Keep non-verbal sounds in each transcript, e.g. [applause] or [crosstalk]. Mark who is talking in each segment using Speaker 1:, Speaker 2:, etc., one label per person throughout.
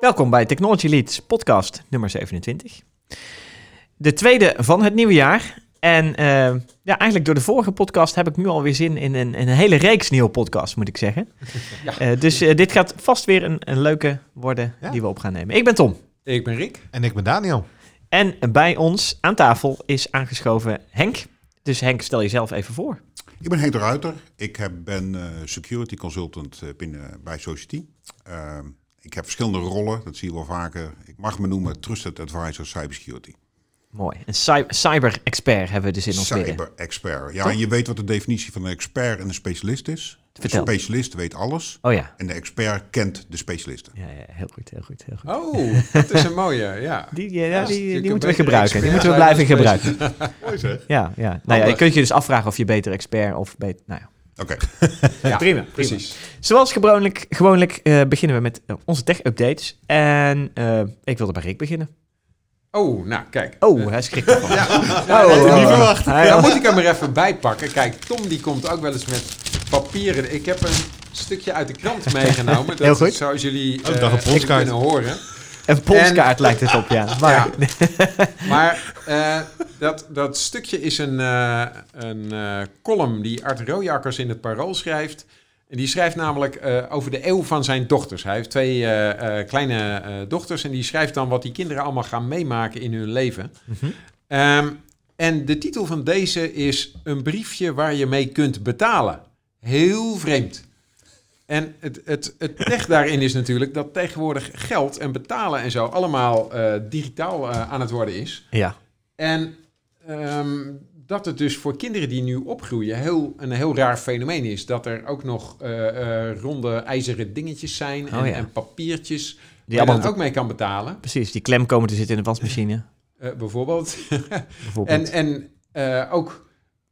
Speaker 1: Welkom bij Technology Leads podcast nummer 27. De tweede van het nieuwe jaar. En eh, ja, eigenlijk door de vorige podcast heb ik nu alweer zin in een, een hele reeks nieuwe podcasts, moet ik zeggen.
Speaker 2: Ja.
Speaker 1: Eh, dus eh, dit gaat vast weer een, een leuke worden
Speaker 3: Ja.
Speaker 1: die we op gaan nemen. Ik ben Tom.
Speaker 2: Ik ben Rick.
Speaker 3: En ik ben Daniel.
Speaker 1: En bij ons aan tafel is aangeschoven Henk. Dus Henk, stel jezelf even voor.
Speaker 4: Ik ben Henk de Ruiter. Ik heb, ben eh, security consultant eh, binnen, bij Society. Ehm, ik heb verschillende rollen, dat zie je wel vaker. Ik mag me noemen Trusted Advisor Cybersecurity.
Speaker 1: Mooi. Een cy- cyber-expert hebben we dus in ons midden.
Speaker 4: Cyber expert. Ja,
Speaker 1: Toch?
Speaker 4: en je weet wat de definitie van een expert en een specialist is.
Speaker 1: Vertel.
Speaker 4: De specialist weet alles
Speaker 1: Oh ja.
Speaker 4: en de expert kent de specialisten.
Speaker 1: Ja, ja, heel goed, heel goed, heel goed.
Speaker 2: Oh, dat is een mooie, ja.
Speaker 1: Die, ja, ja,
Speaker 2: dus je
Speaker 1: die, die
Speaker 2: kunt
Speaker 1: moeten we
Speaker 2: beter
Speaker 1: gebruiken. Die
Speaker 2: expert
Speaker 1: moeten we
Speaker 2: zijn dus
Speaker 1: blijven
Speaker 2: dan
Speaker 1: gebruiken.
Speaker 2: [laughs]
Speaker 3: Mooi zeg.
Speaker 1: Ja, ja. Nou ja, je
Speaker 2: Handig.
Speaker 1: kunt je dus afvragen of je beter expert of beter... Nou ja.
Speaker 4: Oké,
Speaker 2: Ja,
Speaker 1: prima,
Speaker 2: Precies.
Speaker 1: Zoals gewoonlijk, gewoonlijk eh, beginnen we met eh, onze tech-updates. En eh, ik wilde bij Rick beginnen.
Speaker 2: Oh, nou, kijk. nou,
Speaker 1: Oh, hij schrikt ervan.
Speaker 2: [laughs] Ja, ja,
Speaker 1: Oh,
Speaker 2: dat
Speaker 1: oh,
Speaker 2: niet
Speaker 1: oh.
Speaker 2: verwacht.
Speaker 1: Hij-
Speaker 2: Dan moet ik hem er even bij pakken. Kijk, Tom die komt ook wel eens met papieren. Ik heb een stukje uit de
Speaker 1: [laughs]
Speaker 2: krant meegenomen. Dat
Speaker 1: Heel goed.
Speaker 2: Zoals jullie
Speaker 3: Oh, ik
Speaker 2: eh,
Speaker 3: dacht een
Speaker 2: even
Speaker 3: postkaart.
Speaker 2: kunnen horen.
Speaker 1: Een polskaart lijkt het op,
Speaker 2: [laughs]
Speaker 1: ja. Maar,
Speaker 2: Ja. Maar eh, dat, dat stukje is een, eh, een eh, column die Art Rooijakkers in het Parool schrijft. En die schrijft namelijk eh, over de eeuw van zijn dochters. Hij heeft twee eh, eh, kleine eh, dochters en die schrijft dan wat die kinderen allemaal gaan meemaken in hun leven.
Speaker 1: Mhm.
Speaker 2: Ehm, en de titel van deze is Een briefje waar je mee kunt betalen. Heel vreemd. En het, het, het pech daarin is natuurlijk dat tegenwoordig geld en betalen en zo allemaal eh, digitaal eh, aan het worden is.
Speaker 1: ja.
Speaker 2: En ehm, dat het dus voor kinderen die nu opgroeien heel, een heel raar fenomeen is. Dat er ook nog eh, eh, ronde ijzeren dingetjes zijn en,
Speaker 1: Oh ja.
Speaker 2: en papiertjes
Speaker 1: Die
Speaker 2: waar je dan
Speaker 1: allemaal,
Speaker 2: ook mee kan betalen.
Speaker 1: precies, die klem komen te zitten in de wasmachine.
Speaker 2: Eh, bijvoorbeeld. [laughs]
Speaker 1: Bijvoorbeeld.
Speaker 2: En, en eh, ook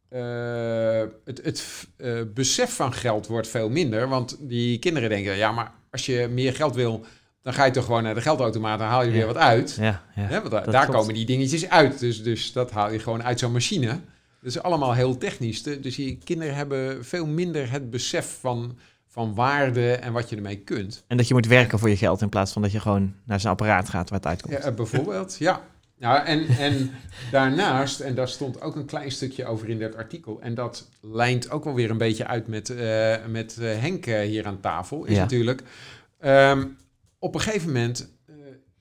Speaker 2: eh, het, het f- eh, besef van geld wordt veel minder. Want die kinderen denken, ja, maar als je meer geld wil, dan ga je toch gewoon naar de geldautomaat en haal je
Speaker 1: Ja.
Speaker 2: weer wat uit.
Speaker 1: ja, ja.
Speaker 2: Hè, want da-
Speaker 1: dat
Speaker 2: daar
Speaker 1: klopt.
Speaker 2: komen die dingetjes uit. Dus, dus dat haal je gewoon uit zo'n machine. Dat is allemaal heel technisch. De- Dus die kinderen hebben veel minder het besef van, van waarde en wat je ermee kunt.
Speaker 1: En dat je moet werken voor je geld in plaats van dat je gewoon naar zijn apparaat gaat waar het uitkomt.
Speaker 2: Ja, eh, bijvoorbeeld, ja. Nou, en, en [laughs] daarnaast, en daar stond ook een klein stukje over in dat artikel, en dat lijnt ook wel weer een beetje uit met, eh, met eh, Henk eh, hier aan tafel, is
Speaker 1: Ja.
Speaker 2: natuurlijk, ehm, op een gegeven moment eh,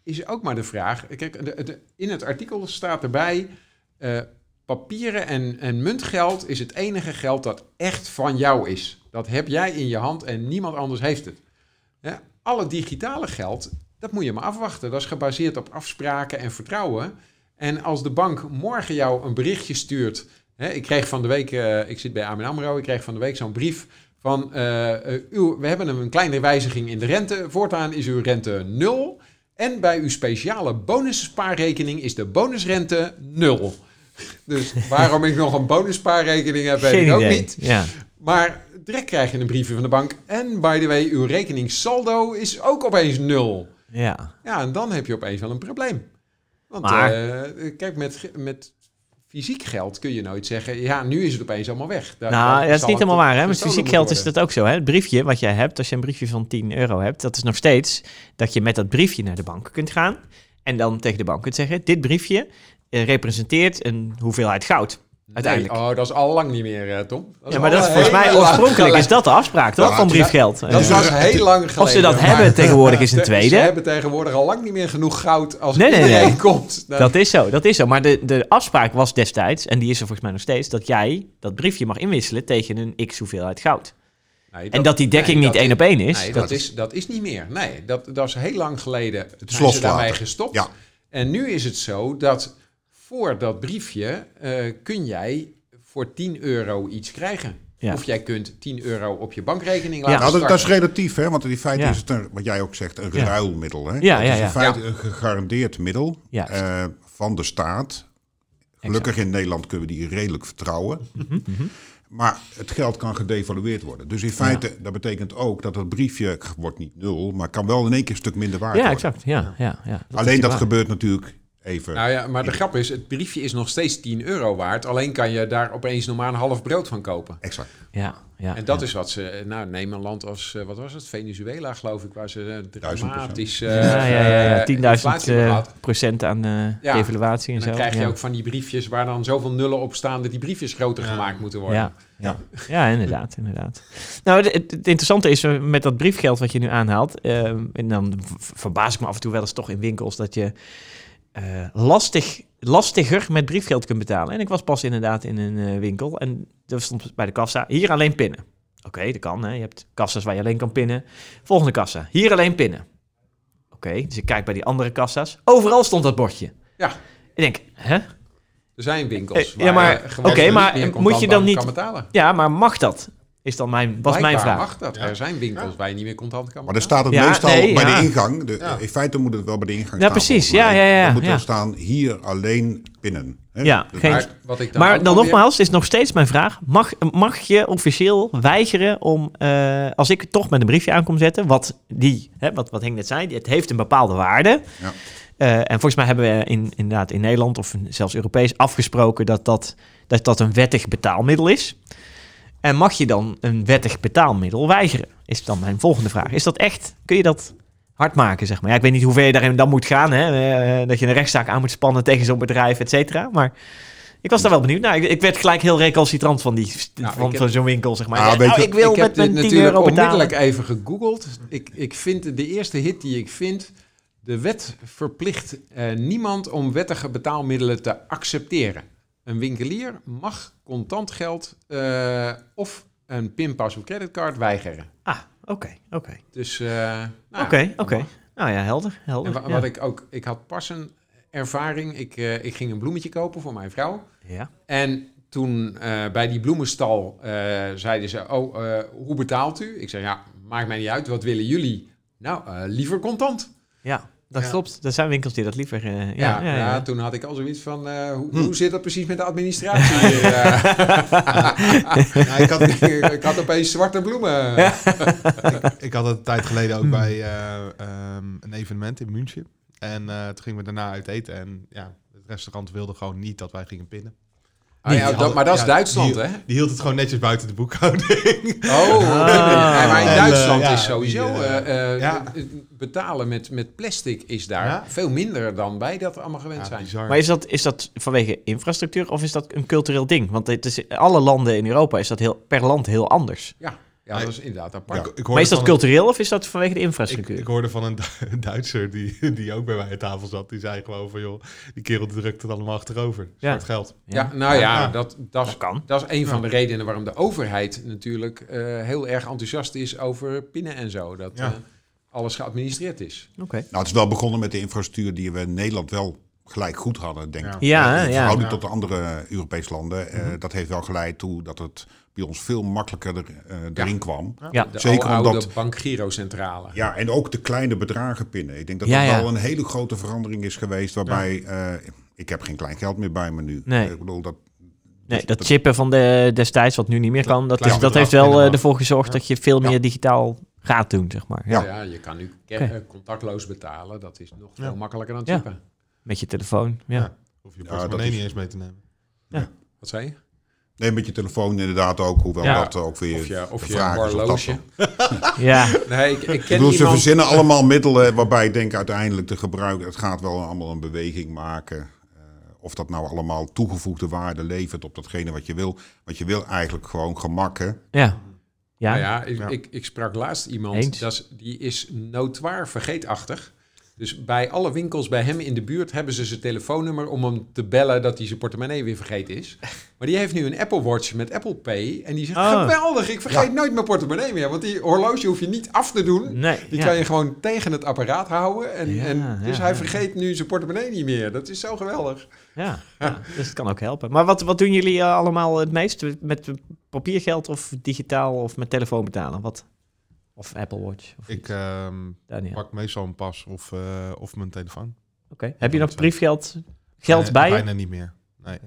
Speaker 2: is ook maar de vraag, kijk, de- de- in het artikel staat erbij, eh, papieren en, en muntgeld is het enige geld dat echt van jou is. Dat heb jij in je hand en niemand anders heeft het. Ja, alle digitale geld, dat moet je maar afwachten. Dat is gebaseerd op afspraken en vertrouwen. En als de bank morgen jou een berichtje stuurt. Hè, ik kreeg van de week, eh, ik zit bij ABN AMRO, ik kreeg van de week zo'n brief van... eh, eh, uw, we hebben een kleine wijziging in de rente. Voortaan is uw rente nul. En bij uw speciale bonusspaarrekening is de bonusrente nul. Dus waarom ik nog een bonusspaarrekening heb, weet ik ook niet.
Speaker 1: Ja.
Speaker 2: Maar direct krijg je een briefje van de bank. En by the way, uw rekeningssaldo is ook opeens nul.
Speaker 1: ja.
Speaker 2: Ja, en dan heb je opeens wel een probleem. Want
Speaker 1: Maar-
Speaker 2: eh, kijk, met, ge- met fysiek geld kun je nooit zeggen... ja, nu is het opeens allemaal weg. Da-
Speaker 1: nou,
Speaker 2: dan
Speaker 1: dat is
Speaker 2: zal
Speaker 1: niet
Speaker 2: het
Speaker 1: helemaal waar. Hè? Met
Speaker 2: gestolen
Speaker 1: fysiek
Speaker 2: moeten
Speaker 1: geld is
Speaker 2: worden.
Speaker 1: dat ook zo. Hè? Het briefje wat jij hebt, als je een briefje van 10 euro hebt, dat is nog steeds dat je met dat briefje naar de bank kunt gaan. En dan tegen de bank kunt zeggen: Dit briefje eh, representeert een hoeveelheid goud. Uiteindelijk.
Speaker 2: Nee, oh, dat is al lang niet meer, eh, Tom. is
Speaker 1: ja, maar
Speaker 2: al
Speaker 1: dat is volgens mij
Speaker 2: [laughs] heel lang
Speaker 1: oorspronkelijk
Speaker 2: geleden.
Speaker 1: is dat de afspraak, toch?
Speaker 4: Ja,
Speaker 1: van
Speaker 4: dat-
Speaker 1: briefgeld.
Speaker 2: Dat
Speaker 1: Ja.
Speaker 2: was heel lang geleden.
Speaker 1: Of ze dat
Speaker 2: maar-
Speaker 1: hebben tegenwoordig is een
Speaker 2: [laughs] Ze-
Speaker 1: tweede.
Speaker 2: Ze hebben tegenwoordig al lang niet meer genoeg goud als
Speaker 1: Nee, nee,
Speaker 2: iedereen
Speaker 1: nee.
Speaker 2: [laughs] komt. Nou,
Speaker 1: Dat is zo, dat is zo. Maar de, de afspraak was destijds, en die is er volgens mij nog steeds, dat jij dat briefje mag inwisselen tegen een x hoeveelheid goud.
Speaker 2: nee,
Speaker 1: en dat die dekking
Speaker 2: nee,
Speaker 1: niet
Speaker 2: dat
Speaker 1: één op één is.
Speaker 2: Nee,
Speaker 1: dat-
Speaker 2: dat is, dat is niet meer. Nee, dat, dat is heel lang geleden. Het
Speaker 4: loslaten.
Speaker 2: is daarmee gestopt.
Speaker 4: Ja.
Speaker 2: En nu is het zo dat voor dat briefje eh, kun jij voor 10 euro iets krijgen.
Speaker 1: Ja.
Speaker 2: Of jij kunt 10 euro op je bankrekening
Speaker 1: Ja.
Speaker 2: laten
Speaker 4: nou, dat, dat is
Speaker 2: starten.
Speaker 4: relatief, hè? want in feite
Speaker 1: Ja.
Speaker 4: is het, een, wat jij ook zegt, een
Speaker 1: Ja.
Speaker 4: ruilmiddel. Hè?
Speaker 1: Ja,
Speaker 4: het
Speaker 1: ja,
Speaker 4: is
Speaker 1: ja.
Speaker 4: in feite een gegarandeerd middel
Speaker 1: Juist.
Speaker 4: eh, van de staat. Gelukkig in Nederland kunnen we die redelijk vertrouwen.
Speaker 1: Mhm,
Speaker 4: Maar het geld kan gedevalueerd worden. Dus in feite, dat betekent ook dat het briefje wordt niet nul, maar kan wel in één keer een stuk minder waard
Speaker 1: ja,
Speaker 4: worden.
Speaker 1: exact. Ja, ja, ja,
Speaker 4: Alleen dat
Speaker 1: gebeurt.
Speaker 4: gebeurt natuurlijk even.
Speaker 2: Nou ja, maar de grap is, het briefje is nog steeds 10 euro waard. Alleen kan je daar opeens normaal een half brood van kopen.
Speaker 4: Exact.
Speaker 1: Ja, ja.
Speaker 2: En dat
Speaker 1: ja.
Speaker 2: is wat ze, eh, nou neem een land als, eh, wat was het, Venezuela geloof ik, waar ze eh,
Speaker 4: 1000%.
Speaker 2: dramatisch eh,
Speaker 1: Ja, ja, ja, ja.
Speaker 2: eh,
Speaker 1: 10.000
Speaker 2: inflatie hebben
Speaker 1: eh,
Speaker 2: gehad.
Speaker 1: procent aan eh,
Speaker 2: Ja.
Speaker 1: evaluatie en
Speaker 2: En
Speaker 1: zo.
Speaker 2: dan krijg je
Speaker 1: ja.
Speaker 2: ook van die briefjes waar dan zoveel nullen op staan dat die briefjes groter
Speaker 4: Ja.
Speaker 2: gemaakt moeten worden.
Speaker 1: Ja, ja. ja, inderdaad, inderdaad. Nou, het, het- het interessante is eh, met dat briefgeld wat je nu aanhaalt, eh, en dan v- verbaas ik me af en toe wel eens toch in winkels dat je eh, lastig, lastiger met briefgeld kunt betalen. En ik was pas inderdaad in een eh, winkel en er stond bij de kassa hier alleen pinnen. Oké, dat kan. Hè. Je hebt kassas waar je alleen kan pinnen. Volgende kassa, hier alleen pinnen. Oké, dus ik kijk bij die andere kassa's. Overal stond dat bordje.
Speaker 2: Ja.
Speaker 1: Ik denk, hè?
Speaker 2: Er zijn winkels
Speaker 1: Eh,
Speaker 2: waar
Speaker 1: ja, maar-
Speaker 2: je gewoon
Speaker 4: oké,
Speaker 2: niet
Speaker 1: maar
Speaker 2: meer
Speaker 1: moet
Speaker 2: contant
Speaker 1: je dan niet-
Speaker 2: kan betalen.
Speaker 1: Ja, maar mag dat? Is dan mijn, was mijn
Speaker 2: Blijkbaar
Speaker 1: vraag.
Speaker 2: mag dat.
Speaker 4: Ja.
Speaker 2: Er zijn winkels waar je niet meer contant kan
Speaker 4: Maar dan
Speaker 2: betalen.
Speaker 4: staat het
Speaker 1: Ja,
Speaker 4: meestal
Speaker 1: nee,
Speaker 4: bij
Speaker 1: ja.
Speaker 4: de ingang. De,
Speaker 2: Ja.
Speaker 4: In feite moet het wel bij de ingang
Speaker 1: Ja,
Speaker 4: staan.
Speaker 1: precies.
Speaker 4: volgens mij.
Speaker 1: Ja, ja, ja,
Speaker 4: Dan moet
Speaker 1: ja.
Speaker 4: er staan hier alleen pinnen. Hè?
Speaker 1: Ja,
Speaker 4: Dus-
Speaker 1: geen-
Speaker 2: Maar wat ik dan
Speaker 1: Maar
Speaker 2: ook
Speaker 1: dan
Speaker 2: alweer-
Speaker 1: nogmaals, het is nog steeds mijn vraag. Mag, mag je officieel weigeren om, eh, als ik toch met een briefje aan kom zetten, wat die, hè, wat, wat Henk net zei, het heeft een bepaalde waarde.
Speaker 4: Ja.
Speaker 1: Eh, en volgens mij hebben we in, inderdaad in Nederland of in- zelfs Europees afgesproken dat dat, dat dat een wettig betaalmiddel is. En mag je dan een wettig betaalmiddel weigeren? Is dan mijn volgende vraag. Is dat echt? Kun je dat hard maken, zeg maar? Ja, ik weet niet hoe ver je daarin dan moet gaan. Hè? eh, dat je een rechtszaak aan moet spannen tegen zo'n bedrijf, et cetera. Maar ik was daar wel benieuwd naar. Ik, ik werd gelijk heel recalcitrant van, die,
Speaker 2: Nou,
Speaker 1: van,
Speaker 2: ik
Speaker 1: van zo'n winkel, zeg maar.
Speaker 4: Ah,
Speaker 1: Ja,
Speaker 4: weet
Speaker 1: nou,
Speaker 4: je-
Speaker 1: ik wil
Speaker 2: ik
Speaker 1: met
Speaker 2: heb dit
Speaker 1: mijn 10
Speaker 2: natuurlijk
Speaker 1: euro betalen.
Speaker 2: onmiddellijk even gegoogeld. Ik, ik vind de eerste hit die ik vind. De wet verplicht eh, niemand om wettige betaalmiddelen te accepteren. Een winkelier mag contant geld eh, of een pinpas of creditcard weigeren.
Speaker 1: Ah, oké, oké.
Speaker 2: Dus, eh, nou ja,
Speaker 1: Oké,
Speaker 2: dat
Speaker 1: oké.
Speaker 2: mag.
Speaker 1: Nou ja, helder, helder.
Speaker 2: En wa-
Speaker 1: ja.
Speaker 2: wat ik ook, ik had pas een ervaring. Ik, eh, ik ging een bloemetje kopen voor mijn vrouw.
Speaker 1: Ja.
Speaker 2: En toen eh, bij die bloemenstal eh, zeiden ze: Oh, eh, hoe betaalt u? Ik zei: Ja, maakt mij niet uit. Wat willen jullie? Nou, eh, liever contant.
Speaker 1: ja, dat
Speaker 2: Ja.
Speaker 1: klopt. Er zijn winkels die dat liever... eh, ja,
Speaker 2: Ja,
Speaker 1: ja,
Speaker 2: nou,
Speaker 1: ja.
Speaker 2: toen had ik al zoiets van: eh, hoe, hoe zit dat precies met de administratie? hier? Eh, [laughs] nou, ik, had, ik, had opeens zwarte bloemen.
Speaker 3: [laughs] Ik had het een tijd geleden ook bij eh, ehm, een evenement in München. En eh, toen gingen we daarna uit eten. En ja, het restaurant wilde gewoon niet dat wij gingen pinnen.
Speaker 2: Oh ja, dat, maar dat is
Speaker 3: Ja,
Speaker 2: Duitsland,
Speaker 3: die-
Speaker 2: hè?
Speaker 3: Die hield het gewoon netjes buiten de boekhouding.
Speaker 1: Ah.
Speaker 2: Oh, nee, maar in
Speaker 3: En,
Speaker 2: Duitsland
Speaker 3: eh, ja,
Speaker 2: is sowieso
Speaker 3: die, eh,
Speaker 2: eh, eh,
Speaker 3: ja.
Speaker 2: eh, betalen met, met plastic is daar
Speaker 3: Ja.
Speaker 2: veel minder dan wij dat allemaal gewend
Speaker 3: Ja,
Speaker 2: zijn.
Speaker 3: bizar.
Speaker 1: Maar is dat, is dat vanwege infrastructuur of is dat een cultureel ding? Want het is, alle landen in Europa is dat heel, per land heel anders.
Speaker 2: Ja, dat is inderdaad apart.
Speaker 3: ik, ik hoorde
Speaker 1: Maar is dat
Speaker 3: van
Speaker 1: cultureel of is dat vanwege de
Speaker 3: een- Ik,
Speaker 1: infrastructuur?
Speaker 3: ik hoorde van een Du- [laughs] Duitser die, die ook bij mij aan tafel zat. Die zei gewoon van, joh, die kerel die drukt het allemaal achterover.
Speaker 1: Ja.
Speaker 3: Zwart geld.
Speaker 2: Ja, nou ja,
Speaker 3: Ja.
Speaker 2: Dat, dat, is,
Speaker 1: dat kan.
Speaker 2: dat is een van de redenen waarom de overheid natuurlijk eh, heel erg enthousiast is over pinnen en zo. Dat
Speaker 3: Ja.
Speaker 2: eh, alles geadministreerd is.
Speaker 1: Oké.
Speaker 4: Nou, het is wel begonnen met de infrastructuur die we in Nederland wel gelijk goed hadden, denk ik.
Speaker 1: Ja,
Speaker 4: in
Speaker 1: ja.
Speaker 4: verhouding
Speaker 3: Ja.
Speaker 4: tot de andere Europese landen. Eh, dat heeft wel geleid toe dat het bij ons veel makkelijker er, eh, erin kwam.
Speaker 1: Ja.
Speaker 2: De
Speaker 4: Zeker
Speaker 2: oude, oude
Speaker 4: omdat-
Speaker 2: bankgirocentrale.
Speaker 4: Ja, en ook de kleine bedragen pinnen. Ik denk dat
Speaker 1: Ja,
Speaker 4: dat
Speaker 1: ja.
Speaker 4: wel een hele grote verandering is geweest. Waarbij eh, ik heb geen klein geld meer bij me nu.
Speaker 1: Nee.
Speaker 4: Ik bedoel, dat,
Speaker 1: Nee, dat chippen van de, destijds, wat nu niet meer kan, dat,
Speaker 3: klein
Speaker 1: is, dat
Speaker 3: bedrag
Speaker 1: heeft wel eh,
Speaker 3: binnenhalen.
Speaker 1: ervoor gezorgd
Speaker 3: Ja.
Speaker 1: dat je veel meer
Speaker 4: Ja.
Speaker 1: digitaal gaat doen, zeg maar.
Speaker 4: Ja.
Speaker 2: Ja. je kan nu ke-
Speaker 1: Oké.
Speaker 2: eh, contactloos betalen. Dat is nog
Speaker 3: Ja.
Speaker 2: veel makkelijker dan
Speaker 1: Ja.
Speaker 2: typen.
Speaker 1: Met je telefoon. Ja.
Speaker 3: Ja. Hoef je
Speaker 4: Ja,
Speaker 3: portemonnee
Speaker 4: dat is-
Speaker 3: niet eens mee te nemen.
Speaker 2: Wat zei je?
Speaker 4: nee, met je telefoon inderdaad ook. Hoewel
Speaker 1: Ja.
Speaker 4: dat ook weer
Speaker 2: Of je, of
Speaker 4: de
Speaker 2: je
Speaker 4: vraag is of dat
Speaker 2: horloge.
Speaker 4: dan-
Speaker 1: Ja.
Speaker 2: Nee, ik, ik
Speaker 4: Ik
Speaker 2: ken
Speaker 4: bedoel, ze
Speaker 2: iemand...
Speaker 4: verzinnen allemaal middelen waarbij ik denk uiteindelijk de gebruiker... Het gaat wel allemaal een beweging maken. Eh, of dat nou allemaal toegevoegde waarde levert op datgene wat je wil. Want je wil eigenlijk gewoon gemakken.
Speaker 1: Ja. Ja.
Speaker 2: Nou ja, ik,
Speaker 3: Ja.
Speaker 2: Ik, ik sprak laatst iemand,
Speaker 1: Eens.
Speaker 2: dat is- die is notoir vergeetachtig. Dus bij alle winkels bij hem in de buurt hebben ze zijn telefoonnummer om hem te bellen dat hij zijn portemonnee weer vergeten is. Maar die heeft nu een Apple Watch met Apple Pay en die zegt,
Speaker 1: Oh.
Speaker 2: geweldig, ik vergeet nooit mijn portemonnee meer. Want die horloge hoef je niet af te doen.
Speaker 1: Nee.
Speaker 2: Die
Speaker 1: ja.
Speaker 2: kan je gewoon tegen het apparaat houden. En,
Speaker 1: Ja,
Speaker 2: en, dus
Speaker 1: ja,
Speaker 2: hij
Speaker 1: ja.
Speaker 2: vergeet nu zijn portemonnee niet meer. Dat is zo geweldig.
Speaker 1: Ja. ja. Dus het kan ook helpen. Maar wat, wat doen jullie eh, allemaal het meest? Met papiergeld of digitaal of met telefoon betalen? Wat? Of Apple Watch? Of
Speaker 3: Ik
Speaker 1: iets?
Speaker 3: ehm,
Speaker 1: Daniel. Oké.
Speaker 3: pak meestal een pas of, eh, of mijn telefoon.
Speaker 1: Heb je nog
Speaker 3: Zo.
Speaker 1: briefgeld geld
Speaker 3: Eh,
Speaker 1: bij je?
Speaker 3: Bijna niet meer. Nee,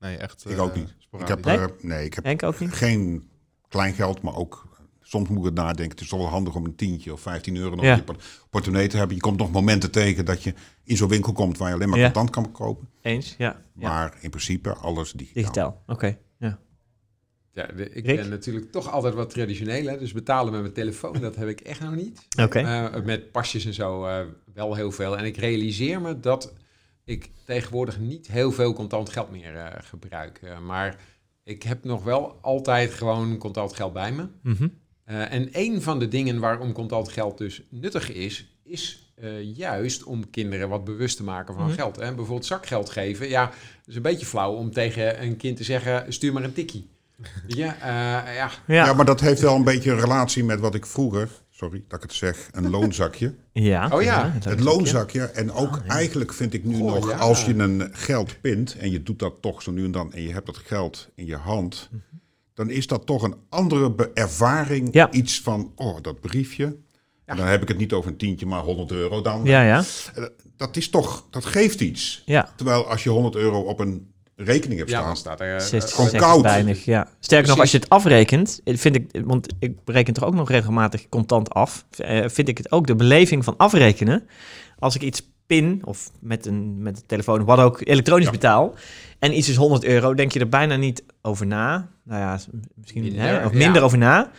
Speaker 3: nee echt.
Speaker 4: Ik
Speaker 3: eh,
Speaker 4: ook niet. Ik
Speaker 3: sporadisch.
Speaker 4: heb,
Speaker 1: Nee?
Speaker 4: eh, nee, ik heb
Speaker 1: Henk ook niet?
Speaker 4: geen klein geld, maar ook eh, soms moet ik het nadenken. Het is toch wel handig om een tientje of 15 euro nog
Speaker 1: Ja.
Speaker 4: in je port- portemonnee te hebben. Je komt nog momenten tegen dat je in zo'n winkel komt waar je alleen maar
Speaker 1: Ja.
Speaker 4: contant kan kopen.
Speaker 1: Eens? Ja. ja.
Speaker 4: Maar in principe alles digitaal.
Speaker 1: Digitaal. Oké. Ja.
Speaker 2: Ja, de- ik
Speaker 1: Rick?
Speaker 2: ben natuurlijk toch altijd wat traditioneel, hè? dus betalen met mijn telefoon, dat heb ik echt nou niet.
Speaker 1: Oké.
Speaker 2: Eh, met pasjes en zo eh, wel heel veel. En ik realiseer me dat ik tegenwoordig niet heel veel contant geld meer eh, gebruik. Eh, maar ik heb nog wel altijd gewoon contant geld bij me.
Speaker 1: Mhm.
Speaker 2: Eh, en een van de dingen waarom contant geld dus nuttig is, is eh, juist om kinderen wat bewust te maken van
Speaker 1: Mhm.
Speaker 2: geld. Hè? Bijvoorbeeld zakgeld geven. Ja, dat is een beetje flauw om tegen een kind te zeggen, stuur maar een tikkie. [laughs] ja, eh, ja.
Speaker 4: Ja.
Speaker 1: Ja. Ja.
Speaker 4: maar dat heeft wel een beetje een relatie met wat ik vroeger, sorry dat ik het zeg, een loonzakje.
Speaker 2: Oh ja,
Speaker 4: Het loonzakje. En ook eigenlijk vind ik nu
Speaker 2: Goh,
Speaker 4: nog,
Speaker 2: ja.
Speaker 4: als je een geld pint en je doet dat toch zo nu en dan en je hebt dat geld in je hand, dan is dat toch een andere be- ervaring.
Speaker 1: Ja.
Speaker 4: Iets van, oh, dat briefje. En dan heb ik het niet over een tientje, maar 100 euro dan.
Speaker 1: Ja, ja.
Speaker 4: Eh, Dat is toch, dat geeft iets.
Speaker 1: Ja.
Speaker 4: Terwijl als je 100 euro op een rekening hebt
Speaker 2: ja,
Speaker 4: staan,
Speaker 2: dan staat er... eh,
Speaker 1: Zestig,
Speaker 4: gewoon
Speaker 1: zestig
Speaker 4: koud.
Speaker 1: Weinig, ja. Sterker nog, als je het afrekent, eh, vind ik, want ik reken toch ook nog regelmatig contant af, eh, vind ik het ook de beleving van afrekenen. Als ik iets pin of met een met de telefoon, wat ook, elektronisch
Speaker 4: Ja.
Speaker 1: betaal en iets is 100 euro, denk je er bijna niet over na. Nou ja, s- misschien
Speaker 2: Minder,
Speaker 1: hè, of
Speaker 2: ja.
Speaker 1: minder over na.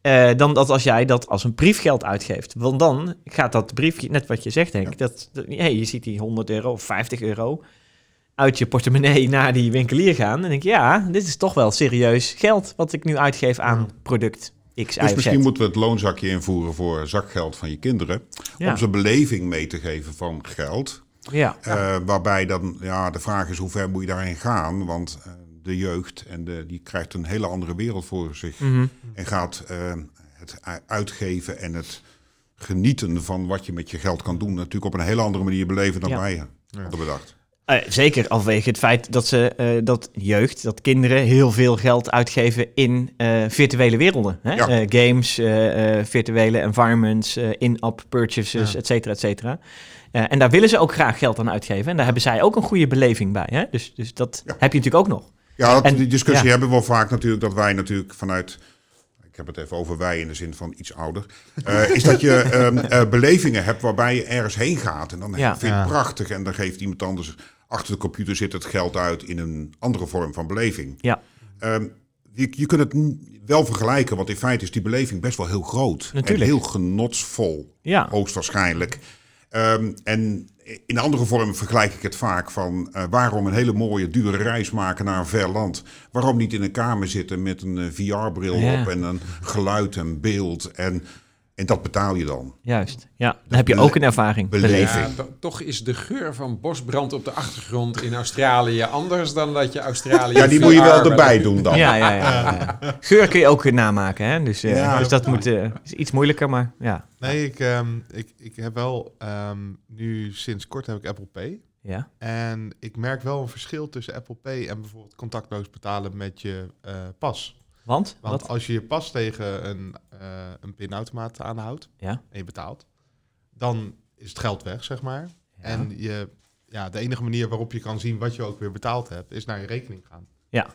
Speaker 1: eh, dan dat als jij dat als een briefgeld uitgeeft. Want dan gaat dat briefje, net wat je zegt, Henk, dat, dat- hey, je ziet die 100 euro of 50 euro uit je portemonnee naar die winkelier gaan. En denk ik, ja, dit is toch wel serieus geld wat ik nu uitgeef aan product X, Y
Speaker 4: Dus
Speaker 1: of Z.
Speaker 4: misschien moeten we het loonzakje invoeren voor zakgeld van je kinderen.
Speaker 1: Ja.
Speaker 4: Om ze beleving mee te geven van geld.
Speaker 1: Ja.
Speaker 4: Eh, waarbij dan, ja, de vraag is hoe ver moet je daarin gaan? Want eh, de jeugd en de, die krijgt een hele andere wereld voor zich.
Speaker 1: Mhm.
Speaker 4: En gaat eh, het u- uitgeven en het genieten van wat je met je geld kan doen, natuurlijk op een hele andere manier beleven dan
Speaker 1: Ja.
Speaker 4: wij hadden bedacht.
Speaker 1: Eh, zeker afwege het feit dat ze eh, dat jeugd, dat kinderen heel veel geld uitgeven in eh, virtuele werelden. Hè?
Speaker 4: Ja.
Speaker 1: Eh, games, eh, eh, virtuele environments, eh, in-app purchases,
Speaker 3: Ja.
Speaker 1: et cetera, et cetera. Eh, en daar willen ze ook graag geld aan uitgeven. En daar hebben zij ook een goede beleving bij. Hè? Dus, dus dat
Speaker 4: Ja.
Speaker 1: heb je natuurlijk ook nog.
Speaker 4: Ja, dat-
Speaker 1: En-
Speaker 4: die discussie
Speaker 1: ja.
Speaker 4: hebben we wel vaak natuurlijk, dat wij natuurlijk vanuit... Ik heb het even over wij in de zin van iets ouder. eh, is dat
Speaker 1: [laughs]
Speaker 4: je ehm, eh, belevingen hebt waarbij je ergens heen gaat. En dan
Speaker 1: Ja.
Speaker 4: vind je het
Speaker 3: Ja.
Speaker 4: prachtig. En dan geeft iemand anders achter de computer zit het geld uit in een andere vorm van beleving.
Speaker 1: Ja.
Speaker 4: Ehm, je, je kunt het n- wel vergelijken, want in feite is die beleving best wel heel groot.
Speaker 1: Natuurlijk.
Speaker 4: En heel genotsvol
Speaker 1: Ja,
Speaker 4: hoogstwaarschijnlijk. Ehm, en in andere vormen vergelijk ik het vaak van eh, waarom een hele mooie, dure reis maken naar een ver land. Waarom niet in een kamer zitten met een VR-bril
Speaker 1: Ja.
Speaker 4: op en een geluid en beeld. En, en dat betaal je dan.
Speaker 1: juist. Ja, dan heb je ook een ervaring.
Speaker 4: bele-
Speaker 1: Beleving.
Speaker 2: Ja, to- toch is de geur van bosbrand op de achtergrond in Australië anders dan dat je Australië...
Speaker 4: Ja, die moet je wel
Speaker 2: VR
Speaker 4: erbij doen dan.
Speaker 1: Ja, ja, ja,
Speaker 3: [laughs]
Speaker 1: ja, ja. Geur kun je ook eh, namaken, hè? Dus, eh,
Speaker 4: Ja.
Speaker 1: dus dat moet, eh, is iets moeilijker, maar ja.
Speaker 3: Nee, ik, ehm, ik, ik heb wel ehm, nu sinds kort heb ik Apple Pay.
Speaker 1: Ja,
Speaker 3: En ik merk wel een verschil tussen Apple Pay en bijvoorbeeld contactloos betalen met je eh, pas.
Speaker 1: want?
Speaker 3: Want
Speaker 1: Wat?
Speaker 3: als je je pas tegen een, eh, een pinautomaat aanhoudt
Speaker 1: Ja.
Speaker 3: en je betaalt, dan is het geld weg, zeg maar.
Speaker 1: Ja.
Speaker 3: En je, ja, de enige manier waarop je kan zien wat je ook weer betaald hebt, is naar je rekening gaan.
Speaker 1: Ja.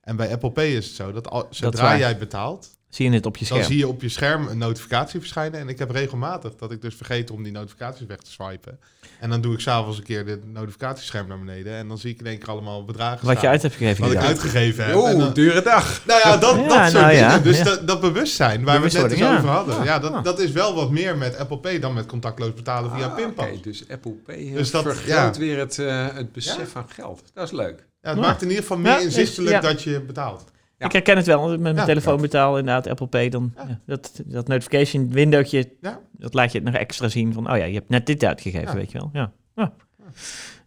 Speaker 3: En bij Apple Pay is het zo dat al, zodra
Speaker 1: waar.
Speaker 3: jij betaalt,
Speaker 1: Zie je het op je scherm?
Speaker 3: dan zie je op je scherm een notificatie verschijnen. En ik heb regelmatig dat ik dus vergeet om die notificaties weg te swipen. En dan doe ik s'avonds een keer de notificatiescherm naar beneden. En dan zie ik in één keer allemaal bedragen
Speaker 1: Wat je
Speaker 3: staan
Speaker 1: uit hebt gegeven.
Speaker 3: wat ik
Speaker 1: inderdaad.
Speaker 3: uitgegeven heb. En
Speaker 2: Oeh,
Speaker 3: dan-
Speaker 2: dure dag.
Speaker 3: nou ja, dat,
Speaker 1: Ja,
Speaker 3: dat soort
Speaker 1: nou ja,
Speaker 3: dingen. Dus
Speaker 1: ja.
Speaker 3: Dat, dat bewustzijn waar we het net eens
Speaker 1: Bewustwording,
Speaker 3: over
Speaker 1: ja.
Speaker 3: hadden.
Speaker 1: Ja,
Speaker 3: Ja, dat,
Speaker 1: ja.
Speaker 3: dat is wel wat meer met Apple Pay dan met contactloos betalen via
Speaker 2: Ah,
Speaker 3: pinpas.
Speaker 2: oké, dus Apple Pay
Speaker 3: Dus dat-
Speaker 2: vergroot
Speaker 3: ja.
Speaker 2: weer het, eh, het besef
Speaker 3: Ja.
Speaker 2: van geld. Dat is leuk.
Speaker 3: Ja, het
Speaker 1: Ja.
Speaker 3: maakt in ieder geval meer
Speaker 1: Ja, is-
Speaker 3: inzichtelijk
Speaker 1: ja.
Speaker 3: dat je betaalt.
Speaker 2: Ja.
Speaker 1: Ik herken het wel, als ik met mijn
Speaker 3: Ja,
Speaker 1: telefoon betaal, inderdaad, Apple Pay, dan
Speaker 3: Ja.
Speaker 1: ja, dat, dat notification windowtje,
Speaker 3: Ja.
Speaker 1: dat laat je het nog extra zien van, oh ja, je hebt net dit uitgegeven,
Speaker 3: Ja.
Speaker 1: weet je wel. Ja. Ja.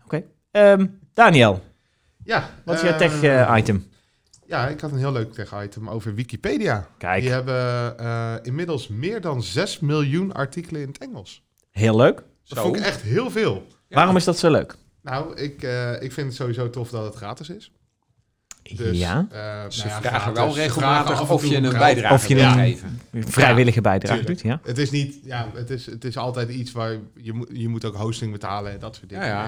Speaker 1: Oké. Ehm, Daniel,
Speaker 3: Ja,
Speaker 1: wat is jouw
Speaker 3: eh,
Speaker 1: tech-item?
Speaker 3: Ja, ik had een heel leuk tech-item over Wikipedia.
Speaker 1: Kijk,
Speaker 3: Die hebben eh, inmiddels meer dan 6 miljoen artikelen in het Engels.
Speaker 1: heel leuk.
Speaker 3: Dat
Speaker 2: Zo.
Speaker 3: vond ik echt heel veel.
Speaker 2: Ja.
Speaker 1: Waarom is dat zo leuk?
Speaker 3: Nou, ik, eh, ik vind het sowieso tof dat het gratis is. Dus,
Speaker 1: ja,
Speaker 3: eh, nou
Speaker 2: Ze
Speaker 3: ja,
Speaker 2: vragen
Speaker 3: gratis.
Speaker 2: wel
Speaker 3: Ze
Speaker 2: regelmatig
Speaker 3: vragen af en
Speaker 2: of
Speaker 3: toe
Speaker 2: je
Speaker 3: om
Speaker 2: een
Speaker 3: geld.
Speaker 2: bijdrage
Speaker 1: Of je
Speaker 2: wil
Speaker 1: een-
Speaker 2: geven.
Speaker 1: vrijwillige bijdrage
Speaker 3: tuurlijk.
Speaker 1: doet, ja.
Speaker 3: Het is niet, ja, het is, het is altijd iets waar je moet, je moet ook hosting betalen en dat soort dingen.
Speaker 2: Ja,
Speaker 3: Maar
Speaker 2: ja.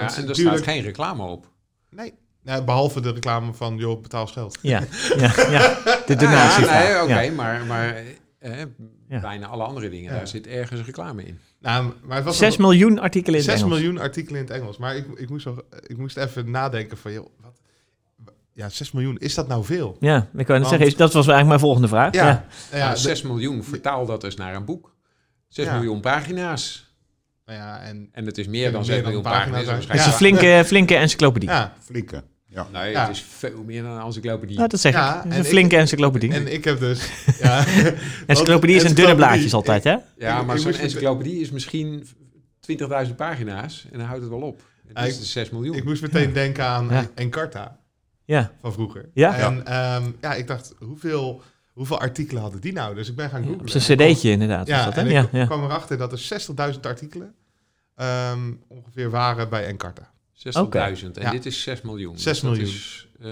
Speaker 3: Dat is
Speaker 2: en er staat
Speaker 3: natuurlijk-
Speaker 2: geen reclame op.
Speaker 3: Nee, Nou, behalve de reclame van, joh, betaal ons geld.
Speaker 1: Ja, ja, ja.
Speaker 3: [laughs]
Speaker 1: de donatie.
Speaker 2: Ja, Ah, nee, oké,
Speaker 1: ja.
Speaker 2: maar, maar eh,
Speaker 1: Ja.
Speaker 2: bijna alle andere dingen,
Speaker 3: Ja.
Speaker 2: daar zit ergens reclame in.
Speaker 3: Nou, maar het was
Speaker 1: 6
Speaker 3: nog-
Speaker 1: miljoen artikelen in het
Speaker 3: zes
Speaker 1: Engels.
Speaker 3: miljoen artikelen in het Engels. Maar ik, ik, moest, nog- ik moest even nadenken van, joh, wat, ja, 6 miljoen, is dat nou veel?
Speaker 1: Ja, ik wou net
Speaker 3: Want-
Speaker 1: zeggen, is- dat was eigenlijk mijn volgende vraag.
Speaker 3: Ja,
Speaker 1: Ja.
Speaker 3: Nou
Speaker 2: Ja,
Speaker 3: ja, de-
Speaker 2: 6 Eh, miljoen, vertaal dat eens naar een boek. 6
Speaker 3: Ja.
Speaker 2: miljoen pagina's.
Speaker 3: nou ja, en,
Speaker 2: En het is meer dan
Speaker 3: Meer
Speaker 2: 6
Speaker 3: dan
Speaker 2: miljoen
Speaker 3: pagina's
Speaker 2: pagina's.
Speaker 3: uit.
Speaker 1: Dat is
Speaker 2: waarschijnlijk.
Speaker 1: een
Speaker 3: Ja.
Speaker 1: flinke, flinke encyclopedie.
Speaker 3: ja,
Speaker 4: Flinke. Ja.
Speaker 2: Nee,
Speaker 3: Ja.
Speaker 2: het is veel meer dan een encyclopedie.
Speaker 1: Nou, dat zeg
Speaker 3: Ja,
Speaker 1: ik. Dat is
Speaker 3: en
Speaker 1: Een
Speaker 3: ik-
Speaker 1: flinke encyclopedie.
Speaker 3: en ik heb
Speaker 1: [laughs]
Speaker 3: dus... Ja,
Speaker 1: encyclopedie is een dunne blaadjes
Speaker 3: altijd.
Speaker 1: altijd, hè?
Speaker 2: ja,
Speaker 3: ik-
Speaker 2: maar
Speaker 3: ik
Speaker 2: zo'n
Speaker 3: moest-
Speaker 2: encyclopedie is misschien 20.000 pagina's en dan houdt het wel op. En
Speaker 3: Ja,
Speaker 2: dat
Speaker 3: ik-
Speaker 2: is de 6 miljoen.
Speaker 3: Ik moest meteen denken aan
Speaker 1: Ja.
Speaker 3: Encarta
Speaker 1: Ja.
Speaker 3: van vroeger.
Speaker 1: Ja.
Speaker 3: En ehm, ja, ik dacht, hoeveel, hoeveel artikelen hadden die nou? Dus ik ben gaan googlen.
Speaker 1: Op zijn cd'tje inderdaad. was
Speaker 3: Ja,
Speaker 1: dat, hè?
Speaker 3: en
Speaker 1: ja,
Speaker 3: ik
Speaker 1: ja.
Speaker 3: kwam erachter dat er 60.000 artikelen ehm, ongeveer waren bij Encarta.
Speaker 2: 60.000. En
Speaker 3: Ja.
Speaker 2: dit is 6 miljoen.
Speaker 3: 6
Speaker 2: Dus dat
Speaker 3: miljoen.
Speaker 2: is eh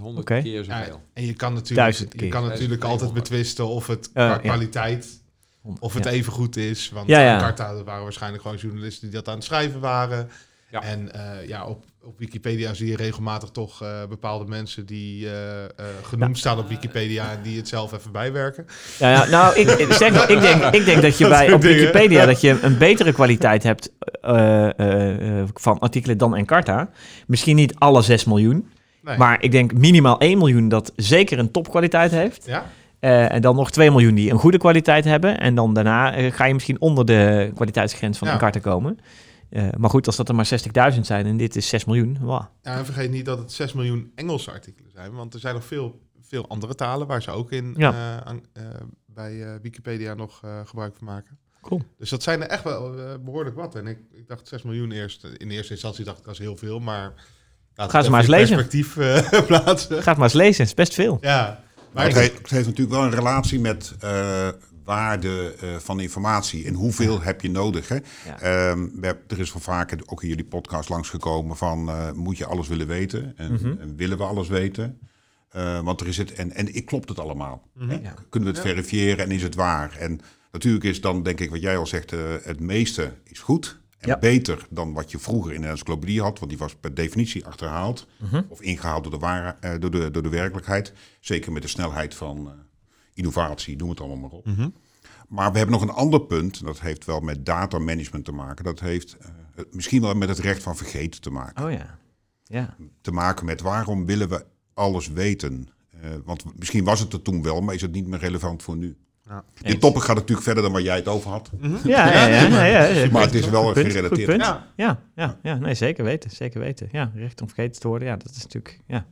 Speaker 2: 100
Speaker 1: Oké.
Speaker 2: keer
Speaker 3: Ja,
Speaker 2: zoveel.
Speaker 3: en je kan
Speaker 1: Duizend
Speaker 3: natuurlijk, je
Speaker 1: keer.
Speaker 3: kan natuurlijk
Speaker 2: Duizend
Speaker 3: altijd
Speaker 2: keer.
Speaker 3: betwisten of het
Speaker 1: Eh,
Speaker 3: qua
Speaker 1: ja.
Speaker 3: kwaliteit, of het
Speaker 1: Ja.
Speaker 3: even goed is. Want
Speaker 1: Ja, ja.
Speaker 3: Encarta dat waren waarschijnlijk gewoon journalisten die dat aan het schrijven waren.
Speaker 2: Ja.
Speaker 3: En eh, ja, op, op Wikipedia zie je regelmatig toch eh, bepaalde mensen die eh, eh, genoemd staan op Wikipedia en die het zelf even bijwerken.
Speaker 1: Ja, ja, nou, ik, ik- sterker
Speaker 3: [laughs]
Speaker 1: nog, ik, denk, ik denk dat je
Speaker 3: Dat
Speaker 1: bij,
Speaker 3: soort
Speaker 1: op
Speaker 3: dingen.
Speaker 1: Wikipedia dat je een betere kwaliteit hebt eh, eh, eh, van artikelen dan Encarta. Misschien niet alle 6 miljoen,
Speaker 3: Nee.
Speaker 1: maar ik denk minimaal 1 miljoen dat zeker een topkwaliteit heeft.
Speaker 3: Ja?
Speaker 1: Eh, en dan nog 2 miljoen die een goede kwaliteit hebben. En dan daarna eh, ga je misschien onder de kwaliteitsgrens van
Speaker 3: Ja.
Speaker 1: Encarta komen. Eh, maar goed, als dat er maar 60.000 zijn en dit is 6 miljoen, wow.
Speaker 3: Ja, en vergeet niet dat het 6 miljoen Engelse artikelen zijn, want er zijn nog veel, veel andere talen waar ze ook in
Speaker 1: Ja.
Speaker 3: eh, aan- eh, bij eh, Wikipedia nog eh, gebruik van maken.
Speaker 1: Cool.
Speaker 3: Dus dat zijn er echt wel eh, behoorlijk wat. En ik, ik dacht 6 miljoen eerst. eh, In de eerste instantie dacht ik dat is heel veel, maar laat
Speaker 1: Ga
Speaker 3: het
Speaker 1: ze maar
Speaker 3: even
Speaker 1: eens
Speaker 3: in
Speaker 1: lezen.
Speaker 3: perspectief eh, [laughs] plaatsen.
Speaker 1: Ga het maar eens lezen, het is best veel.
Speaker 3: Ja,
Speaker 4: Maar
Speaker 3: maar
Speaker 4: het,
Speaker 3: ik,
Speaker 4: heeft, het heeft natuurlijk wel een relatie met eh, waarde eh, van informatie en hoeveel heb je nodig. Hè?
Speaker 1: Ja.
Speaker 4: Ehm, we heb- er is wel vaker ook in jullie podcast langsgekomen van eh, moet je alles willen weten en, en willen we alles weten? Eh, want er is het, en, en ik- klopt het allemaal? Hè?
Speaker 1: Mhm. Ja.
Speaker 4: Kunnen we het verifiëren en is het waar? En natuurlijk is dan, denk ik, wat jij al zegt, eh, het meeste is goed en
Speaker 1: Ja.
Speaker 4: beter dan wat je vroeger in de encyclopedie had, want die was per definitie achterhaald
Speaker 1: Mhm.
Speaker 4: of ingehaald door de, waar, eh, door, de, door de werkelijkheid. Zeker met de snelheid van eh, innovatie, noem het allemaal maar op.
Speaker 1: Mhm.
Speaker 4: Maar we hebben nog een ander punt, en dat heeft wel met datamanagement te maken. Dat heeft eh, misschien wel met het recht van vergeten te maken
Speaker 1: Oh ja. Ja.
Speaker 4: te maken met waarom willen we alles weten? Eh, want misschien was het er toen wel, maar is het niet meer relevant voor nu.
Speaker 3: Ja.
Speaker 4: Dit topic gaat natuurlijk verder dan waar jij het over had.
Speaker 1: Ja, ja, ja, ja, ja, ja.
Speaker 4: Hm? Maar het is wel
Speaker 1: Goed punt,
Speaker 4: gerelateerd.
Speaker 1: goed punt.
Speaker 3: Ja.
Speaker 1: Ja, ja, ja, nee, zeker weten, zeker weten. Ja, recht om vergeten te worden, ja, dat is natuurlijk ja,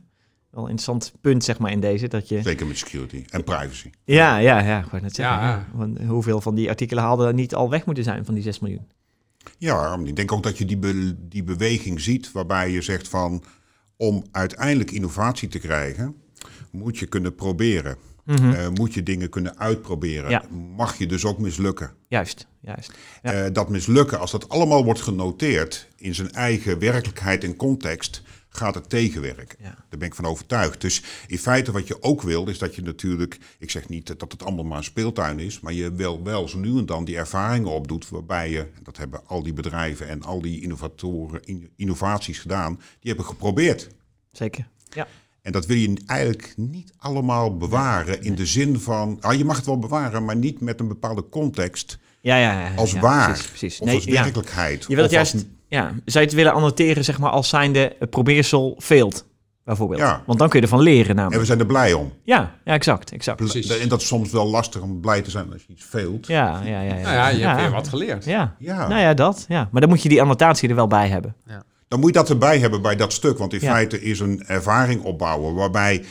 Speaker 1: wel een interessant punt, zeg maar, in deze, dat je...
Speaker 4: Zeker met security en privacy.
Speaker 1: Ja, ja, ja, ik wou net zeggen,
Speaker 2: Ja.
Speaker 1: ja. Want hoeveel van die artikelen hadden niet al weg moeten zijn van die 6 miljoen?
Speaker 4: Ja, ik denk ook dat je die, be- die beweging ziet waarbij je zegt van... om uiteindelijk innovatie te krijgen, moet je kunnen proberen. Eh, moet je dingen kunnen uitproberen.
Speaker 1: Mhm. Ja.
Speaker 4: Mag je dus ook mislukken.
Speaker 1: Juist, juist. Ja.
Speaker 4: Eh, dat mislukken, als dat allemaal wordt genoteerd in zijn eigen werkelijkheid en context, gaat het tegenwerken.
Speaker 1: Ja.
Speaker 4: Daar ben ik van overtuigd. Dus in feite wat je ook wil, is dat je natuurlijk, ik zeg niet dat het allemaal maar een speeltuin is, maar je wel, wel zo nu en dan die ervaringen opdoet waarbij je, dat hebben al die bedrijven en al die innovatoren, in- innovaties gedaan, die hebben geprobeerd.
Speaker 1: Zeker. Ja,
Speaker 4: En dat wil je eigenlijk niet allemaal bewaren in de zin van, ah, je mag het wel bewaren, maar niet met een bepaalde context
Speaker 1: ja, ja. ja, ja,
Speaker 4: als
Speaker 1: ja,
Speaker 4: waar
Speaker 1: Precies, precies.
Speaker 4: of
Speaker 1: Nee,
Speaker 4: als
Speaker 1: ja.
Speaker 4: werkelijkheid.
Speaker 1: Je wil het
Speaker 4: of als-
Speaker 1: juist, ja, zou je het willen annoteren, zeg maar, als zijnde eh, probeersel failed, bijvoorbeeld?
Speaker 4: Ja.
Speaker 1: Want dan kun je ervan leren
Speaker 4: En we
Speaker 1: namelijk.
Speaker 4: zijn er blij om.
Speaker 1: Ja, ja, exact, exact.
Speaker 2: Precies.
Speaker 4: En dat is soms wel lastig om blij te zijn als je iets veelt.
Speaker 1: Ja, ja, ja. ja.
Speaker 2: Nou ja, je hebt weer wat geleerd.
Speaker 1: Ja.
Speaker 4: Ja.
Speaker 1: nou ja, dat. Ja. Maar dan moet je die annotatie er wel bij hebben.
Speaker 4: Dan moet je dat erbij hebben bij dat stuk. Want in
Speaker 1: Ja.
Speaker 4: feite is een ervaring opbouwen waarbij...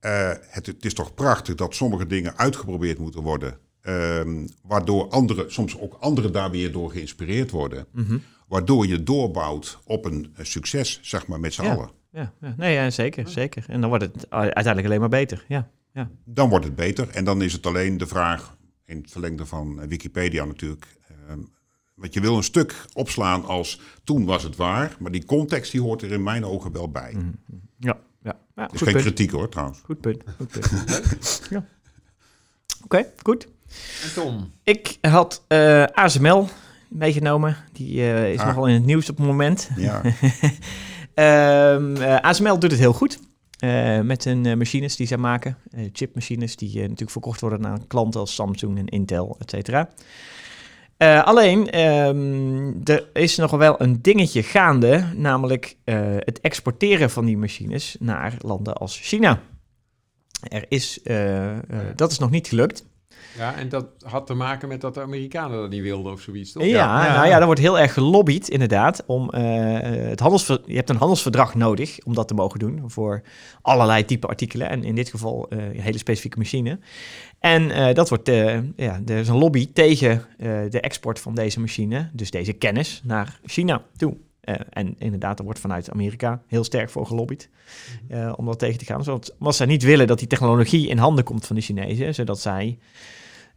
Speaker 4: eh, het, het is toch prachtig dat sommige dingen uitgeprobeerd moeten worden. ehm, waardoor anderen, soms ook anderen daar weer door geïnspireerd worden.
Speaker 1: Mhm.
Speaker 4: Waardoor je doorbouwt op een eh, succes, zeg maar, met z'n allen.
Speaker 1: Ja, ja. Nee, ja, zeker, zeker. En dan wordt het u- uiteindelijk alleen maar beter. Ja, ja.
Speaker 4: dan wordt het beter. En dan is het alleen de vraag, in het verlengde van eh, Wikipedia natuurlijk. ehm, want je wil een stuk opslaan als toen was het waar. Maar die context die hoort er in mijn ogen wel bij. Het
Speaker 1: ja, ja. ja Mhm.
Speaker 4: is
Speaker 1: goed,
Speaker 4: geen
Speaker 1: punt.
Speaker 4: kritiek hoor
Speaker 1: [laughs]
Speaker 4: trouwens.
Speaker 1: goed punt. Goed punt. ja. Oké, goed.
Speaker 2: En Tom,
Speaker 1: Ik had eh, ASML meegenomen. Die eh, is
Speaker 4: Ah.
Speaker 1: nogal in het nieuws op het moment.
Speaker 4: Ja.
Speaker 1: [laughs] Ehm, eh, ASML doet het heel goed. eh, met hun eh, machines die zij maken. Eh, chipmachines die eh, natuurlijk verkocht worden aan klanten als Samsung en Intel, et cetera. Eh, alleen, ehm, er is nog wel een dingetje gaande, namelijk eh, het exporteren van die machines naar landen als China. Er is, eh, eh, dat is nog niet gelukt.
Speaker 2: Ja, en dat had te maken met dat de Amerikanen dat niet wilden of zoiets, toch?
Speaker 1: Ja,
Speaker 3: Ja.
Speaker 1: nou ja, daar wordt heel erg gelobbyd inderdaad. Om, eh, het handelsver- je hebt een handelsverdrag nodig om dat te mogen doen voor allerlei type artikelen. En in dit geval eh, een hele specifieke machine. En eh, dat wordt, eh, ja, er is een lobby tegen eh, de export van deze machine, dus deze kennis, naar China toe. Eh, en inderdaad, er wordt vanuit Amerika heel sterk voor gelobbyd eh, om dat tegen te gaan. Zodat, omdat zij niet willen dat die technologie in handen komt van de Chinezen, zodat zij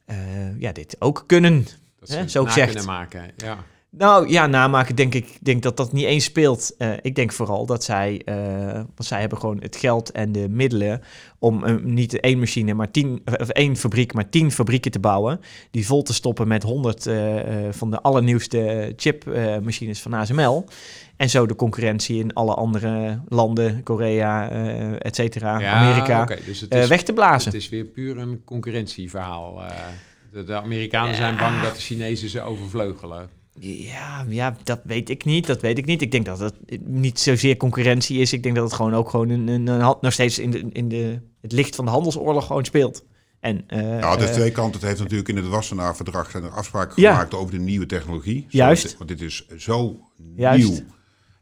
Speaker 1: eh, ja, dit ook kunnen.
Speaker 2: Dat ze
Speaker 1: Hè,
Speaker 2: het
Speaker 1: zo
Speaker 2: na
Speaker 1: gezegd.
Speaker 2: kunnen maken, ja.
Speaker 1: Nou ja, namaken denk ik denk dat dat niet eens speelt. Eh, ik denk vooral dat zij, eh, want zij hebben gewoon het geld en de middelen om eh, niet één machine, maar tien, eh, of of één fabriek, maar tien fabrieken te bouwen. Die vol te stoppen met honderd eh, van de allernieuwste chipmachines van ASML. En zo de concurrentie in alle andere landen, Korea, eh et cetera,
Speaker 2: Ja,
Speaker 1: Amerika,
Speaker 2: oké, dus het
Speaker 1: eh,
Speaker 2: is,
Speaker 1: weg te blazen.
Speaker 2: het is weer puur een concurrentieverhaal. eh. de, de Amerikanen zijn bang dat de Chinezen ze overvleugelen.
Speaker 1: Ja, ja, dat weet ik niet. Dat weet ik niet. Ik denk dat het niet zozeer concurrentie is. Ik denk dat het gewoon ook gewoon een, een, een hand- nog steeds in, de, in de, het licht van de handelsoorlog gewoon speelt. En, eh,
Speaker 4: Ja, het heeft
Speaker 1: eh,
Speaker 4: twee kanten. Het heeft natuurlijk in het Wassenaar-verdrag zijn er afspraken
Speaker 1: Ja.
Speaker 4: gemaakt over de nieuwe technologie. Zo-
Speaker 1: Juist.
Speaker 4: Want dit is zo
Speaker 1: Juist.
Speaker 4: nieuw en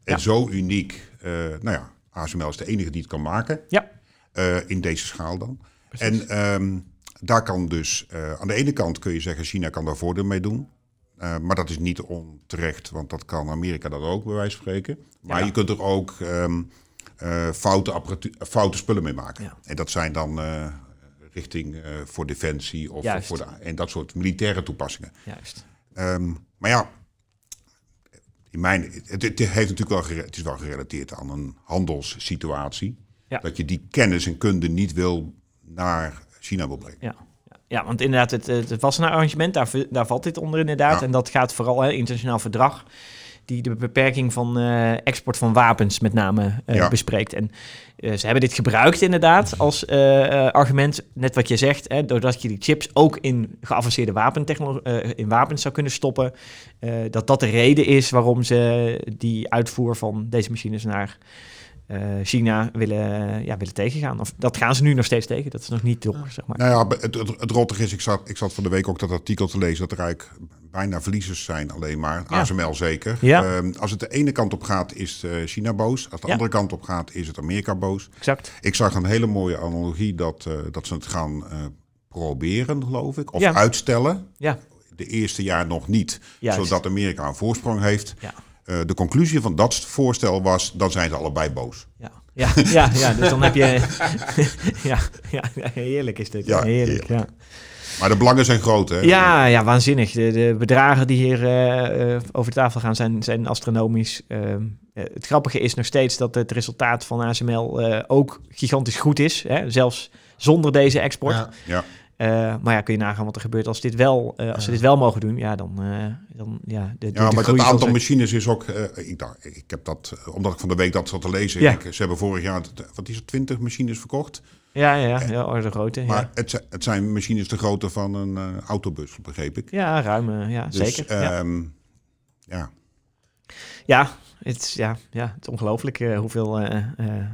Speaker 1: Ja.
Speaker 4: zo uniek. Eh, nou ja, ASML is de enige die het kan maken.
Speaker 1: Ja.
Speaker 4: Eh, in deze schaal dan. En ehm, daar kan dus, eh, aan de ene kant kun je zeggen, China kan daar voordeel mee doen. Eh, maar dat is niet onterecht, want dat kan Amerika dat ook, bij wijze van spreken. Maar
Speaker 1: Ja.
Speaker 4: je kunt er ook ehm, eh, foute, apparatu- foute spullen mee maken.
Speaker 1: Ja.
Speaker 4: En dat zijn dan eh, richting eh, voor defensie of
Speaker 1: Juist.
Speaker 4: voor de, en dat soort militaire toepassingen.
Speaker 1: juist.
Speaker 4: Ehm, maar ja, in mijn, het, het heeft natuurlijk wel, gere- het is wel gerelateerd aan een handelssituatie.
Speaker 1: Ja.
Speaker 4: Dat je die kennis en kunde niet wil naar China wil brengen.
Speaker 1: Ja. ja, want inderdaad, het, het het Wassenaar-arrangement, daar, v- daar valt dit onder inderdaad.
Speaker 4: Ja.
Speaker 1: En dat gaat vooral, hè, internationaal verdrag, die de beperking van eh, export van wapens met name eh,
Speaker 4: Ja.
Speaker 1: bespreekt. En eh, ze hebben dit gebruikt inderdaad als eh, eh, argument, net wat je zegt, hè, doordat je die chips ook in geavanceerde wapentechno- eh, in wapens zou kunnen stoppen. eh, dat dat de reden is waarom ze die uitvoer van deze machines naar eh, China willen, ja, willen tegengaan. Of dat gaan ze nu nog steeds tegen, dat is nog niet door, zeg maar.
Speaker 4: Nou ja, be- het, het, het rottig is, ik zat, ik zat van de week ook dat artikel te lezen... dat er eigenlijk bijna verliezers zijn alleen maar,
Speaker 1: Ja.
Speaker 4: ASML zeker.
Speaker 1: Ja.
Speaker 4: Ehm, als het de ene kant op gaat, is eh, China boos. Als de
Speaker 1: Ja.
Speaker 4: andere kant op gaat, is het Amerika boos.
Speaker 1: Exact.
Speaker 4: Ik zag een hele mooie analogie dat, eh, dat ze het gaan eh, proberen, geloof ik. Of
Speaker 1: Ja.
Speaker 4: uitstellen.
Speaker 1: Ja.
Speaker 4: De eerste jaar nog niet.
Speaker 1: Juist.
Speaker 4: Zodat Amerika een voorsprong heeft.
Speaker 1: Ja.
Speaker 4: Eh, de conclusie van dat voorstel was, dan zijn ze allebei boos.
Speaker 1: Ja, ja, ja, ja, dus dan heb je... [laughs] ja, ja, ja, heerlijk is dit.
Speaker 4: Ja, Eh,
Speaker 1: heerlijk, ja.
Speaker 4: Maar de belangen zijn groot, hè?
Speaker 1: Ja, ja, waanzinnig. De, de bedragen die hier eh, eh, over de tafel gaan zijn, zijn astronomisch. Ehm, eh, het grappige is nog steeds dat het resultaat van ASML eh, ook gigantisch goed is. Hè? Zelfs zonder deze export.
Speaker 3: Ja.
Speaker 4: Ja.
Speaker 1: Eh, maar ja, kun je nagaan wat er gebeurt als, dit wel, eh, als ze dit wel mogen doen. Ja, dan... eh, dan ja, de, de-
Speaker 4: Ja,
Speaker 1: de
Speaker 4: maar
Speaker 1: groei
Speaker 4: het
Speaker 1: zal
Speaker 4: aantal
Speaker 1: zijn-
Speaker 4: machines is ook... eh, ik, dacht, ik heb dat, eh, omdat ik van de week dat zat te lezen.
Speaker 1: Ja.
Speaker 4: Ik, eh, ze hebben vorig jaar, t- wat is het, 20 machines verkocht.
Speaker 1: Ja, ja, ja, ja, orde grote. Ja,
Speaker 4: Maar het, zi- het zijn machines de grootte van een eh, autobus, begreep ik.
Speaker 1: ja ruim, eh, ja, zeker. ja.
Speaker 4: ehm, ja.
Speaker 1: Ja, het is, ja, ja, het is ongelooflijk eh, hoeveel, eh, eh,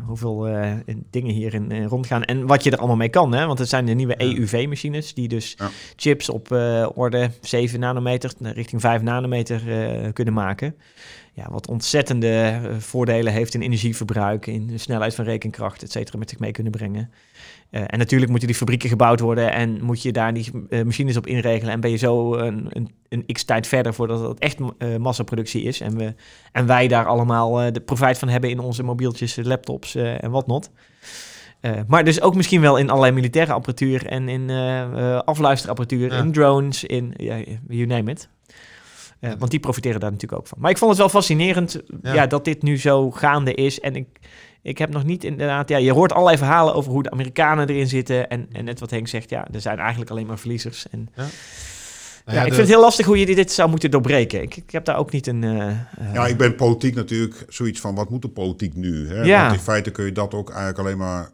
Speaker 1: hoeveel eh, dingen hierin eh, rondgaan. En wat je er allemaal mee kan, hè? want het zijn de nieuwe
Speaker 3: Ja.
Speaker 1: EUV-machines... die dus
Speaker 4: Ja.
Speaker 1: chips op eh, orde 7 nanometer naar richting 5 nanometer eh, kunnen maken. Ja, wat ontzettende eh, voordelen heeft in energieverbruik... in de snelheid van rekenkracht, et cetera, met zich mee kunnen brengen. Eh, en natuurlijk moeten die fabrieken gebouwd worden... en moet je daar die eh, machines op inregelen... en ben je zo een, een, een x-tijd verder voordat dat echt eh, massaproductie is... en we en wij daar allemaal eh, de profijt van hebben in onze mobieltjes, eh, laptops eh, en whatnot. Eh, maar dus ook misschien wel in allerlei militaire apparatuur en in eh, eh, afluisterapparatuur,
Speaker 3: Ja.
Speaker 1: in drones, in ja, you name it. Eh, want die profiteren daar natuurlijk ook van. Maar ik vond het wel fascinerend ja.
Speaker 3: Ja.
Speaker 1: dat dit nu zo gaande is. En ik, ik heb nog niet inderdaad... Ja, je hoort allerlei verhalen over hoe de Amerikanen erin zitten. En, en net wat Henk zegt, ja, er zijn eigenlijk alleen maar verliezers. En
Speaker 3: nou Ja.
Speaker 1: ja, ik vind het heel lastig hoe je dit zou moeten doorbreken. Ik, ik heb daar ook niet een... eh, eh,
Speaker 4: Ja, ik ben politiek natuurlijk zoiets van, wat moet de politiek nu? Hè?
Speaker 1: Ja.
Speaker 4: Want in feite kun je dat ook eigenlijk alleen maar...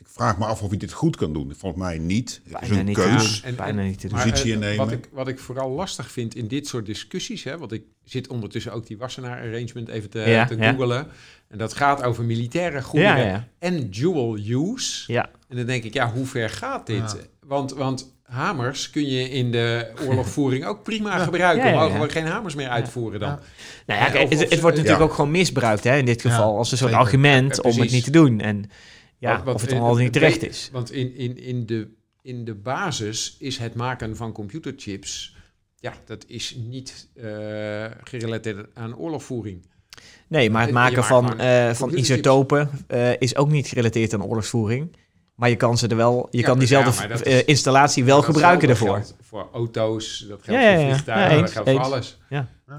Speaker 4: Ik vraag me af of je dit goed kan doen. Volgens mij niet. Het is
Speaker 1: bijna,
Speaker 4: een
Speaker 1: niet
Speaker 4: keus.
Speaker 1: Te,
Speaker 2: En-
Speaker 1: bijna niet te doen.
Speaker 4: Maar- positie
Speaker 2: eh,
Speaker 4: innemen.
Speaker 2: Wat ik, wat ik vooral lastig vind in dit soort discussies, hè, want ik zit ondertussen ook die Wassenaar-arrangement even te,
Speaker 1: Ja,
Speaker 2: te
Speaker 1: ja.
Speaker 2: googelen. En dat gaat over militaire goederen
Speaker 1: ja, ja, ja.
Speaker 2: en dual use.
Speaker 1: ja.
Speaker 2: En dan denk ik, ja, hoe ver gaat dit?
Speaker 3: Ja.
Speaker 2: Want, want hamers kun je in de oorlogvoering ook prima gebruiken.
Speaker 1: Ja, ja, ja.
Speaker 2: Mogen we geen hamers meer uitvoeren dan?
Speaker 3: Ja.
Speaker 1: Nou ja,
Speaker 2: Ja,
Speaker 1: kijk,
Speaker 2: of-
Speaker 1: het,
Speaker 2: of-
Speaker 1: het wordt
Speaker 2: ja.
Speaker 1: natuurlijk ook gewoon misbruikt hè, in dit
Speaker 3: Ja,
Speaker 1: geval. als een soort
Speaker 3: zeker.
Speaker 1: argument
Speaker 2: Ja,
Speaker 1: om het
Speaker 2: precies.
Speaker 1: niet te doen. En ja,
Speaker 2: Want- want
Speaker 1: of het
Speaker 2: in-
Speaker 1: dan al
Speaker 2: in-
Speaker 1: niet terecht is.
Speaker 2: Want in, in, in, de, in de basis is het maken van computerchips... Ja, dat is niet eh, gerelateerd aan oorlogvoering.
Speaker 1: Nee, maar het
Speaker 2: je
Speaker 1: maken
Speaker 2: maakt
Speaker 1: van,
Speaker 2: gewoon
Speaker 1: eh, van
Speaker 2: computerchips.
Speaker 1: isotopen eh, is ook niet gerelateerd aan oorlogsvoering. Maar je kan ze er wel, je
Speaker 2: Ja,
Speaker 1: kan
Speaker 2: maar-
Speaker 1: diezelfde
Speaker 2: ja, maar dat
Speaker 1: eh,
Speaker 2: is-
Speaker 1: installatie wel
Speaker 2: Dat
Speaker 1: gebruiken
Speaker 2: geldt-
Speaker 1: daarvoor.
Speaker 2: dat geldt voor auto's, dat geldt
Speaker 1: Ja, ja,
Speaker 2: voor
Speaker 1: ja.
Speaker 2: vliegtuigen,
Speaker 1: Ja,
Speaker 2: dat
Speaker 1: eens,
Speaker 2: geldt voor
Speaker 1: eens.
Speaker 2: alles.
Speaker 4: Ja,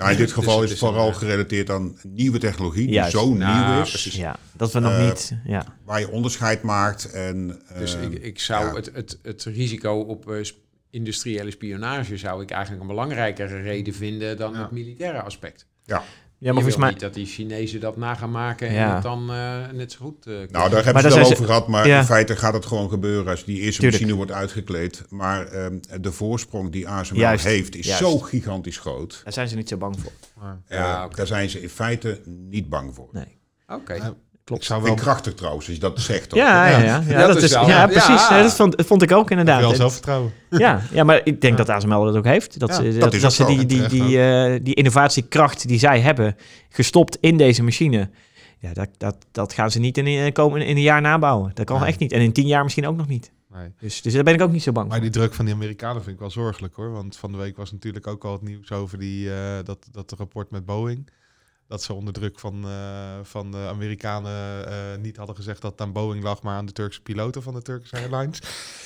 Speaker 4: in dit geval
Speaker 2: Dus
Speaker 4: is
Speaker 2: het
Speaker 4: het
Speaker 2: is een,
Speaker 4: vooral
Speaker 2: eh,
Speaker 4: gerelateerd aan nieuwe technologie die
Speaker 1: Juist.
Speaker 4: zo
Speaker 2: Nou,
Speaker 4: nieuw is,
Speaker 2: precies.
Speaker 1: Ja, dat we nog
Speaker 4: Eh,
Speaker 1: niet. Ja.
Speaker 4: waar je onderscheid maakt. En, eh,
Speaker 2: Dus
Speaker 3: Ehm,
Speaker 2: ik, ik zou
Speaker 4: ja.
Speaker 2: het, het, het risico op eh, sp- industriële spionage zou ik eigenlijk een belangrijkere reden vinden dan
Speaker 3: Ja.
Speaker 2: het militaire aspect.
Speaker 1: ja,
Speaker 2: je
Speaker 1: maar volgens
Speaker 2: wil
Speaker 1: mij.
Speaker 2: niet dat die Chinezen dat na gaan maken en
Speaker 1: Ja.
Speaker 2: het dan eh, net zo goed eh, kunnen.
Speaker 4: Nou, daar
Speaker 1: Maar
Speaker 4: hebben
Speaker 1: daar
Speaker 4: we
Speaker 1: zijn
Speaker 4: het
Speaker 1: ze-
Speaker 4: al over gehad, maar
Speaker 1: ja.
Speaker 4: in feite gaat het gewoon gebeuren als die eerste
Speaker 1: Tuurlijk.
Speaker 4: machine wordt uitgekleed. Maar ehm, de voorsprong die ASML
Speaker 1: Juist,
Speaker 4: heeft is
Speaker 1: juist.
Speaker 4: zo gigantisch groot.
Speaker 1: Daar zijn ze niet zo bang voor.
Speaker 4: Eh,
Speaker 2: Ja, oké.
Speaker 4: Daar zijn ze in feite niet bang voor.
Speaker 1: Nee.
Speaker 2: Oké.
Speaker 3: Ja,
Speaker 1: Klopt.
Speaker 3: Ik zou wel
Speaker 4: Vind ik krachtig trouwens, als je dat zegt. hoor.
Speaker 1: Ja, ja, ja. Ja, dat is,
Speaker 2: wel-
Speaker 1: ja,
Speaker 2: ja.
Speaker 1: precies. Nee, dat, vond, dat vond ik ook inderdaad.
Speaker 3: veel
Speaker 1: Het-
Speaker 3: zelfvertrouwen.
Speaker 1: Ja, ja, maar ik denk dat ASML dat ook heeft. Dat,
Speaker 3: Ja,
Speaker 1: ze,
Speaker 3: dat
Speaker 1: dat,
Speaker 4: is
Speaker 1: dat
Speaker 4: ook
Speaker 1: ze
Speaker 4: zo.
Speaker 1: die,
Speaker 4: En
Speaker 1: die,
Speaker 3: terecht
Speaker 1: die, eh, die innovatiekracht die zij hebben gestopt in deze machine. Ja, dat, dat, dat gaan ze niet in, eh, komen, in een jaar nabouwen. Dat kan
Speaker 3: Nee.
Speaker 1: echt niet. En in tien jaar misschien ook nog niet.
Speaker 3: Nee.
Speaker 1: Dus, dus daar ben ik ook niet zo bang voor.
Speaker 3: Maar die druk van die Amerikanen vind ik wel zorgelijk hoor. Want van de week was natuurlijk ook al het nieuws over die, eh, dat, dat rapport met Boeing. Dat ze onder druk van, eh, van de Amerikanen eh, niet hadden gezegd dat het aan Boeing lag, maar aan de Turkse piloten van de Turkish Airlines.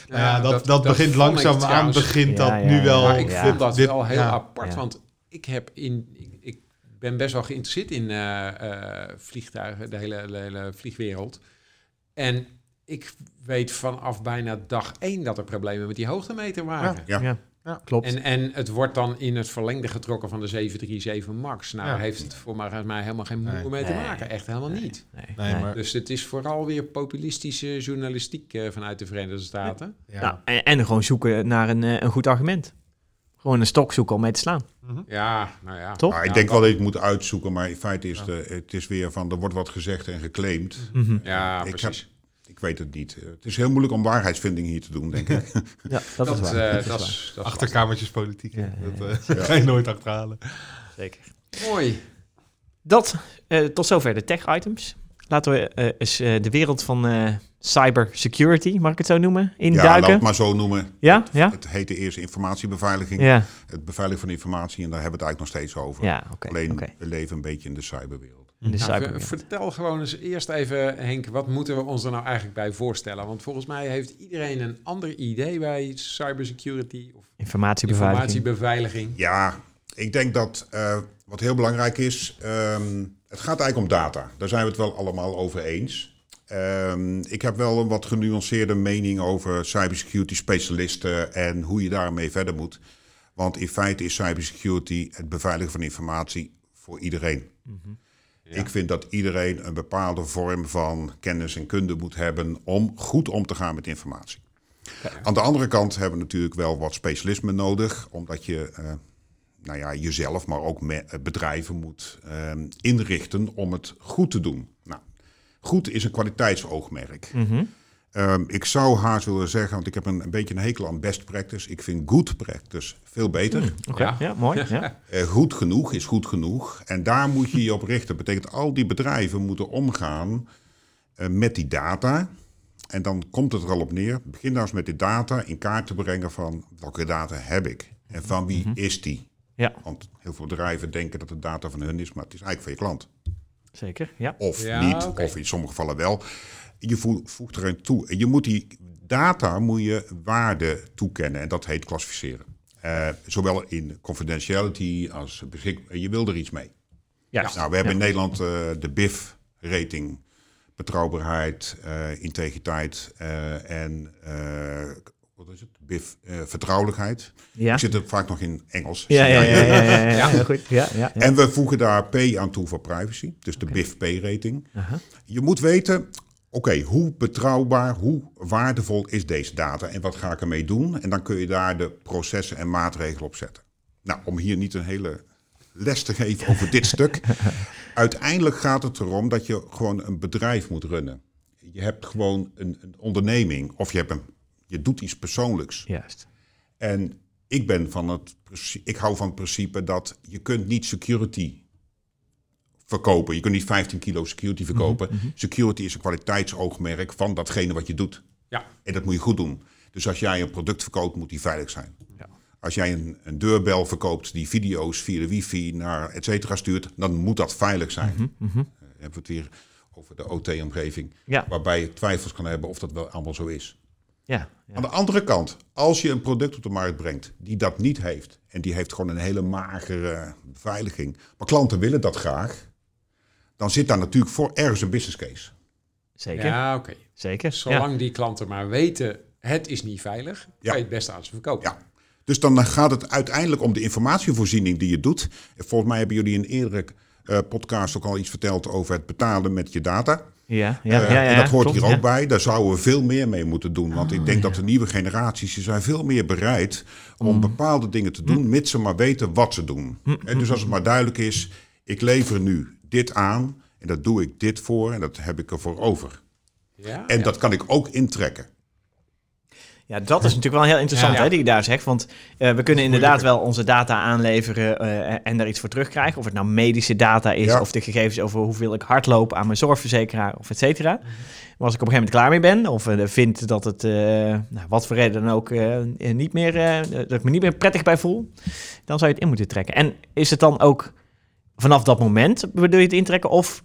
Speaker 3: Nou ja, dat, dat, begint
Speaker 2: vond ik
Speaker 3: langzaam aan,
Speaker 2: trouwens-
Speaker 3: begint
Speaker 1: Ja,
Speaker 3: dat
Speaker 1: ja,
Speaker 3: nu
Speaker 1: ja.
Speaker 3: wel.
Speaker 2: Maar ik
Speaker 1: Oh,
Speaker 2: vond
Speaker 1: ja.
Speaker 2: dat
Speaker 3: Dit-
Speaker 2: wel heel
Speaker 3: ja.
Speaker 2: apart,
Speaker 1: Ja.
Speaker 2: want ik heb in... Ik, ik ben best wel geïnteresseerd in eh, eh, vliegtuigen, de hele, de hele vliegwereld. En ik weet vanaf bijna dag één dat er problemen met die hoogtemeter waren.
Speaker 4: Ja.
Speaker 3: Ja.
Speaker 1: Klopt.
Speaker 2: En, en het wordt dan in het verlengde getrokken van de 737 MAX. Nou,
Speaker 3: Ja.
Speaker 2: daar heeft het voor mij helemaal geen moeite
Speaker 3: Nee.
Speaker 2: mee te
Speaker 1: Nee.
Speaker 2: maken. Echt helemaal niet.
Speaker 1: nee,
Speaker 3: Nee,
Speaker 1: nee.
Speaker 3: maar
Speaker 2: Dus het is vooral weer populistische journalistiek eh, vanuit de Verenigde Staten.
Speaker 3: ja.
Speaker 1: Nou, en, en gewoon zoeken naar een, eh, een goed argument. Gewoon een stok zoeken om mee te slaan.
Speaker 3: Mhm.
Speaker 2: Ja, nou ja.
Speaker 1: Toch?
Speaker 4: Maar Ah, ik
Speaker 2: Ja,
Speaker 4: denk
Speaker 2: dat-
Speaker 4: wel dat ik moet uitzoeken, maar in feite is de, het is weer van, er wordt wat gezegd en geclaimd.
Speaker 1: Mhm.
Speaker 2: Ja,
Speaker 4: Ik
Speaker 2: precies.
Speaker 4: Ik weet het niet. Eh, Het is heel moeilijk om waarheidsvinding hier te doen,
Speaker 1: [laughs]
Speaker 4: denk ik.
Speaker 1: Ja, dat, is waar.
Speaker 2: eh,
Speaker 1: dat is
Speaker 2: dat
Speaker 1: waar.
Speaker 2: is- dat is
Speaker 3: Achterkamertjespolitiek. hè.
Speaker 1: Ja, ja, ja.
Speaker 3: Dat eh, [laughs] ga je nooit achterhalen.
Speaker 1: Zeker.
Speaker 2: lastig. Mooi.
Speaker 1: Dat, eh, tot zover de tech-items. Laten we eh, eens eh, de wereld van eh, cybersecurity, mag ik het zo noemen,
Speaker 4: ja,
Speaker 1: induiken.
Speaker 4: laat het maar zo noemen.
Speaker 1: Ja, ja,
Speaker 4: Het heette eerst informatiebeveiliging.
Speaker 1: ja.
Speaker 4: Het beveiligen van informatie, en daar hebben we het eigenlijk nog steeds over.
Speaker 1: Ja, oké. oké.
Speaker 4: Alleen, we leven een beetje in de cyberwereld.
Speaker 1: In de
Speaker 2: Nou, ver-
Speaker 1: cyberwereld.
Speaker 2: vertel gewoon eens eerst even, Henk, wat moeten we ons er nou eigenlijk bij voorstellen? Want volgens mij heeft iedereen een ander idee bij cybersecurity of
Speaker 1: Informatiebeveiliging.
Speaker 2: informatiebeveiliging.
Speaker 4: Ja, ik denk dat eh, wat heel belangrijk is, ehm, het gaat eigenlijk om data. Daar zijn we het wel allemaal over eens. Ehm, ik heb wel een wat genuanceerde mening over cybersecurity specialisten en hoe je daarmee verder moet. Want in feite is cybersecurity het beveiligen van informatie voor iedereen.
Speaker 1: Mhm.
Speaker 2: Ja.
Speaker 4: Ik vind dat iedereen een bepaalde vorm van kennis en kunde moet hebben om goed om te gaan met informatie. Aan de andere kant hebben we natuurlijk wel wat specialisme nodig, omdat je eh, nou ja, jezelf, maar ook me- eh, bedrijven moet eh, inrichten om het goed te doen. Nou, goed is een kwaliteitsoogmerk.
Speaker 1: Mhm.
Speaker 4: Ehm, ik zou haast willen zeggen, want ik heb een, een beetje een hekel aan best practice. Ik vind good practice veel beter.
Speaker 1: Oké, ja.
Speaker 2: Ja.
Speaker 1: mooi. Ja.
Speaker 4: Eh, goed genoeg is goed genoeg. En daar moet je je op richten. Betekent al die bedrijven moeten omgaan eh, met die data. En dan komt het er al op neer. Begin nou eens met die data in kaart te brengen van welke data heb ik en van wie is die.
Speaker 1: Ja.
Speaker 4: Want heel veel bedrijven denken dat de data van hun is, maar het is eigenlijk van je klant.
Speaker 1: Zeker, ja.
Speaker 4: Of
Speaker 2: Ja,
Speaker 4: niet,
Speaker 2: oké.
Speaker 4: of in sommige gevallen wel. Je voe- voegt er een toe. En Je moet die data moet je waarde toekennen en dat heet klassificeren. Eh, zowel in confidentiality als beschikbaar. Je wil er iets mee.
Speaker 1: Juist.
Speaker 4: Nou, we hebben in Nederland eh, de BIF-rating. Betrouwbaarheid, eh, integriteit eh, en eh, wat is het? BIF, eh, vertrouwelijkheid.
Speaker 1: Ja.
Speaker 4: Ik zit er vaak nog in Engels.
Speaker 1: Ja, ja, ja, ja, ja, ja. Heel goed. Ja, ja, ja.
Speaker 4: En we voegen daar P aan toe voor privacy, dus de BIF-P-rating.
Speaker 1: Aha.
Speaker 4: Je moet weten, oké, hoe betrouwbaar, hoe waardevol is deze data en wat ga ik ermee doen? En dan kun je daar de processen en maatregelen op zetten. Nou, om hier niet een hele les te geven over dit
Speaker 1: [laughs]
Speaker 4: stuk. Uiteindelijk gaat het erom dat je gewoon een bedrijf moet runnen. Je hebt gewoon een, een onderneming of je, hebt een, je doet iets persoonlijks.
Speaker 1: Juist.
Speaker 4: En ik ben van het, princi- ik hou van het principe dat je kunt niet security verkopen. Je kunt niet 15 kilo
Speaker 1: Mhm,
Speaker 4: security verkopen. Security is een kwaliteitsoogmerk van datgene wat je doet.
Speaker 2: Ja.
Speaker 4: En dat moet je goed doen. Dus als jij een product verkoopt, moet die veilig zijn.
Speaker 1: Ja.
Speaker 4: Als jij een, een deurbel verkoopt die video's via de wifi naar et cetera stuurt, dan moet dat veilig zijn. Eh, hebben we het weer over de OT-omgeving,
Speaker 1: Mhm, Ja.
Speaker 4: waarbij je twijfels kan hebben of dat wel allemaal zo is.
Speaker 1: Ja. ja.
Speaker 4: Aan de andere kant, als je een product op de markt brengt die dat niet heeft, en die heeft gewoon een hele magere beveiliging, maar klanten willen dat graag, dan zit daar natuurlijk voor ergens een business case.
Speaker 1: Zeker.
Speaker 2: Ja, oké.
Speaker 1: Zeker. Ja.
Speaker 2: Zolang die klanten maar weten, het is niet veilig,
Speaker 4: Ja.
Speaker 2: kan je het beste aan ze verkopen.
Speaker 4: Ja. Dus dan gaat het uiteindelijk om de informatievoorziening die je doet. En volgens mij hebben jullie in een eerdere eh, podcast ook al iets verteld over het betalen met je data.
Speaker 1: Ja, ja, ja,
Speaker 4: Eh,
Speaker 1: ja,
Speaker 4: en dat hoort
Speaker 1: klopt,
Speaker 4: hier ook
Speaker 1: ja. Ah,
Speaker 4: bij. Daar zouden we veel meer mee moeten doen. Want ik denk dat de nieuwe generaties die zijn veel meer bereid om
Speaker 1: Mm.
Speaker 4: bepaalde dingen te doen, mits ze maar weten wat ze doen. En
Speaker 1: mm,
Speaker 4: dus als het maar duidelijk is, ik lever nu dit aan en dat doe ik dit voor en dat heb ik ervoor over.
Speaker 2: Ja?
Speaker 4: En dat kan ik ook intrekken.
Speaker 1: Ja, dat is natuurlijk wel heel interessant
Speaker 2: Ja.
Speaker 1: hè, die je daar zegt. Want eh, we kunnen inderdaad wel onze data aanleveren eh, en daar iets voor terugkrijgen. Of het nou medische data is,
Speaker 4: Ja.
Speaker 1: of de gegevens over hoeveel ik hardloop aan mijn zorgverzekeraar, of et cetera. Maar als ik op een gegeven moment klaar mee ben, of eh, vind dat het, eh, nou, wat voor reden dan ook, eh, niet meer, eh, dat ik me niet meer prettig bij voel, dan zou je het in moeten trekken. En is het dan ook vanaf dat moment, bedoel je het intrekken, of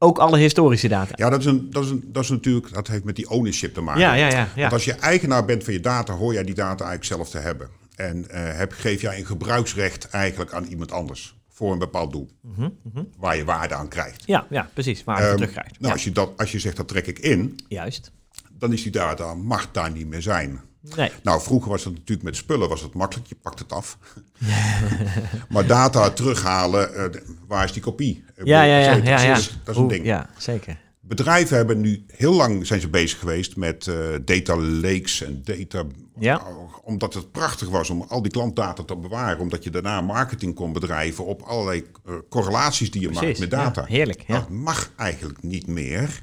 Speaker 1: ook alle historische data?
Speaker 4: Ja, dat is, een, dat, is een, dat is natuurlijk, dat heeft met die ownership te maken.
Speaker 1: Ja, ja, ja. ja.
Speaker 4: Want als je eigenaar bent van je data, hoor jij die data eigenlijk zelf te hebben. En eh, heb, geef jij een gebruiksrecht eigenlijk aan iemand anders voor een bepaald doel,
Speaker 1: Mhm, mhm.
Speaker 4: waar je waarde aan krijgt.
Speaker 1: ja, ja, precies, waar je het
Speaker 4: Ehm,
Speaker 1: terugkrijgt.
Speaker 4: Nou,
Speaker 1: Ja,
Speaker 4: als, je dat, als je zegt dat trek ik in,
Speaker 1: Juist.
Speaker 4: dan is die data, mag daar niet meer zijn.
Speaker 1: Nee.
Speaker 4: Nou, vroeger was dat natuurlijk met spullen was het makkelijk, je pakt het
Speaker 1: [laughs]
Speaker 4: af. maar data terughalen, eh, de- waar is die kopie? Eh,
Speaker 1: Ja, ja, ja.
Speaker 4: et cetera.
Speaker 1: ja, ja.
Speaker 4: Dat is, dat is een
Speaker 1: Hoe-
Speaker 4: ding.
Speaker 1: Ja, zeker.
Speaker 4: Bedrijven hebben nu heel lang zijn ze bezig geweest met eh, data lakes en data.
Speaker 1: Ja.
Speaker 4: Omdat het prachtig was om al die klantdata te bewaren. Omdat je daarna marketing kon bedrijven op allerlei eh, correlaties die je maakt
Speaker 1: Precies.
Speaker 4: met data. Nou,
Speaker 1: Ja, heerlijk. Ja.
Speaker 4: Dat mag eigenlijk niet meer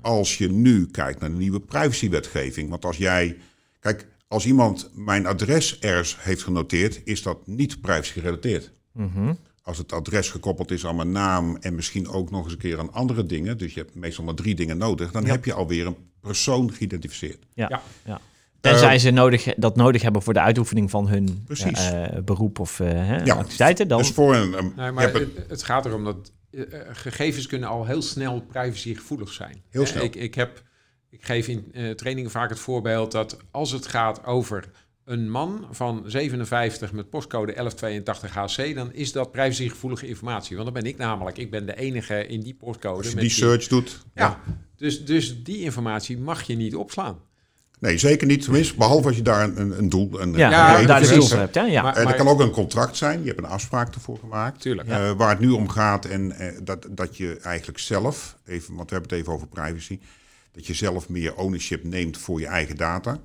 Speaker 4: als je nu kijkt naar de nieuwe privacywetgeving. Want als jij, kijk, als iemand mijn adres ergens heeft genoteerd, is dat niet privacy gerelateerd.
Speaker 1: Mhm.
Speaker 4: Als het adres gekoppeld is aan mijn naam en misschien ook nog eens een keer aan andere dingen, dus je hebt meestal maar drie dingen nodig, dan heb je alweer een persoon geïdentificeerd.
Speaker 1: ja. ja.
Speaker 2: Ja.
Speaker 1: Tenzij ze nodig, dat nodig hebben voor de uitoefening van hun
Speaker 4: ehm, Precies.
Speaker 1: eh, eh, beroep of eh, hè,
Speaker 4: Ja.
Speaker 1: activiteiten. Dan,
Speaker 4: Dus voor een, een-
Speaker 2: Nee,
Speaker 4: je
Speaker 2: maar
Speaker 4: hebt een-
Speaker 2: het, het gaat erom dat eh, eh, gegevens kunnen al heel snel privacygevoelig zijn.
Speaker 4: Heel
Speaker 2: Eh,
Speaker 4: snel.
Speaker 2: Ik, ik, heb, ik geef in eh, trainingen vaak het voorbeeld dat als het gaat over een man van 57 met postcode 1182 HC, dan is dat privacygevoelige informatie. Want dan ben ik namelijk, ik ben de enige in die postcode.
Speaker 4: als je
Speaker 2: met
Speaker 4: die search doet.
Speaker 2: Ja, dus, dus die informatie mag je niet opslaan.
Speaker 4: Nee, zeker niet. Tenminste, behalve als je daar een- een, een doel... Een,
Speaker 1: ja,
Speaker 4: een
Speaker 2: Ja,
Speaker 1: als je
Speaker 4: reden
Speaker 1: daar de
Speaker 4: voor
Speaker 1: deal
Speaker 4: hebt.
Speaker 1: voor hebt. Hè? Ja.
Speaker 2: Maar-
Speaker 4: Eh, dat kan ook een contract zijn. Je hebt een afspraak ervoor gemaakt.
Speaker 2: Tuurlijk.
Speaker 4: Eh, waar het nu om gaat en eh, dat, dat je eigenlijk zelf, even, want we hebben het even over privacy, dat je zelf meer ownership neemt voor je eigen data.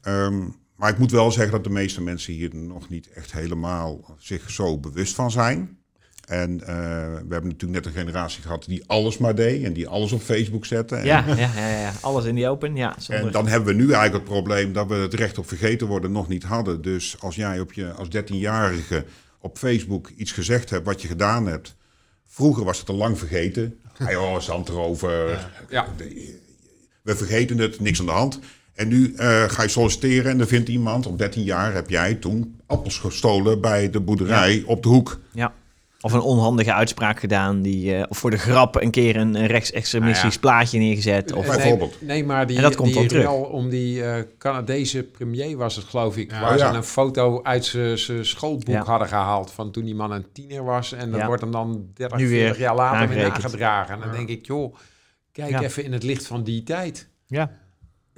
Speaker 4: Ehm, maar ik moet wel zeggen dat de meeste mensen hier nog niet echt helemaal zich zo bewust van zijn. En eh, we hebben natuurlijk net een generatie gehad die alles maar deed en die alles op Facebook zette. En,
Speaker 1: ja, ja, ja, ja, ja. alles in die open. Ja, zonder,
Speaker 4: en dan hebben we nu eigenlijk het probleem dat we het recht op vergeten worden nog niet hadden. Dus als jij op je, als 13-jarige op Facebook iets gezegd hebt wat je gedaan hebt. Vroeger was het al lang vergeten. Ah joh, zand erover.
Speaker 2: Ja.
Speaker 4: We vergeten het, niks aan de hand. En nu eh, ga je solliciteren en dan vindt iemand, op 13 jaar heb jij toen appels gestolen bij de boerderij op de hoek.
Speaker 1: ja. Of een onhandige uitspraak gedaan, die, eh, of voor de grap een keer een eh, rechtsextremistisch
Speaker 2: Nou ja.
Speaker 1: plaatje neergezet.
Speaker 2: Eh,
Speaker 1: Of,
Speaker 4: Nee. bijvoorbeeld.
Speaker 2: Nee, maar die,
Speaker 1: En dat komt
Speaker 2: die
Speaker 1: wel terug.
Speaker 2: rel om die eh, Canadese premier was het, geloof ik. waar
Speaker 4: oh ja.
Speaker 2: ze een foto uit zijn schoolboek
Speaker 1: Ja.
Speaker 2: hadden gehaald van toen die man een tiener was. En dat
Speaker 1: Ja.
Speaker 2: wordt hem dan 30,
Speaker 1: Nu weer
Speaker 2: 40 jaar later weer
Speaker 1: aangerekend.
Speaker 2: aangedragen. En dan denk ik, joh, kijk
Speaker 1: Ja.
Speaker 2: even in het licht van die tijd.
Speaker 1: ja.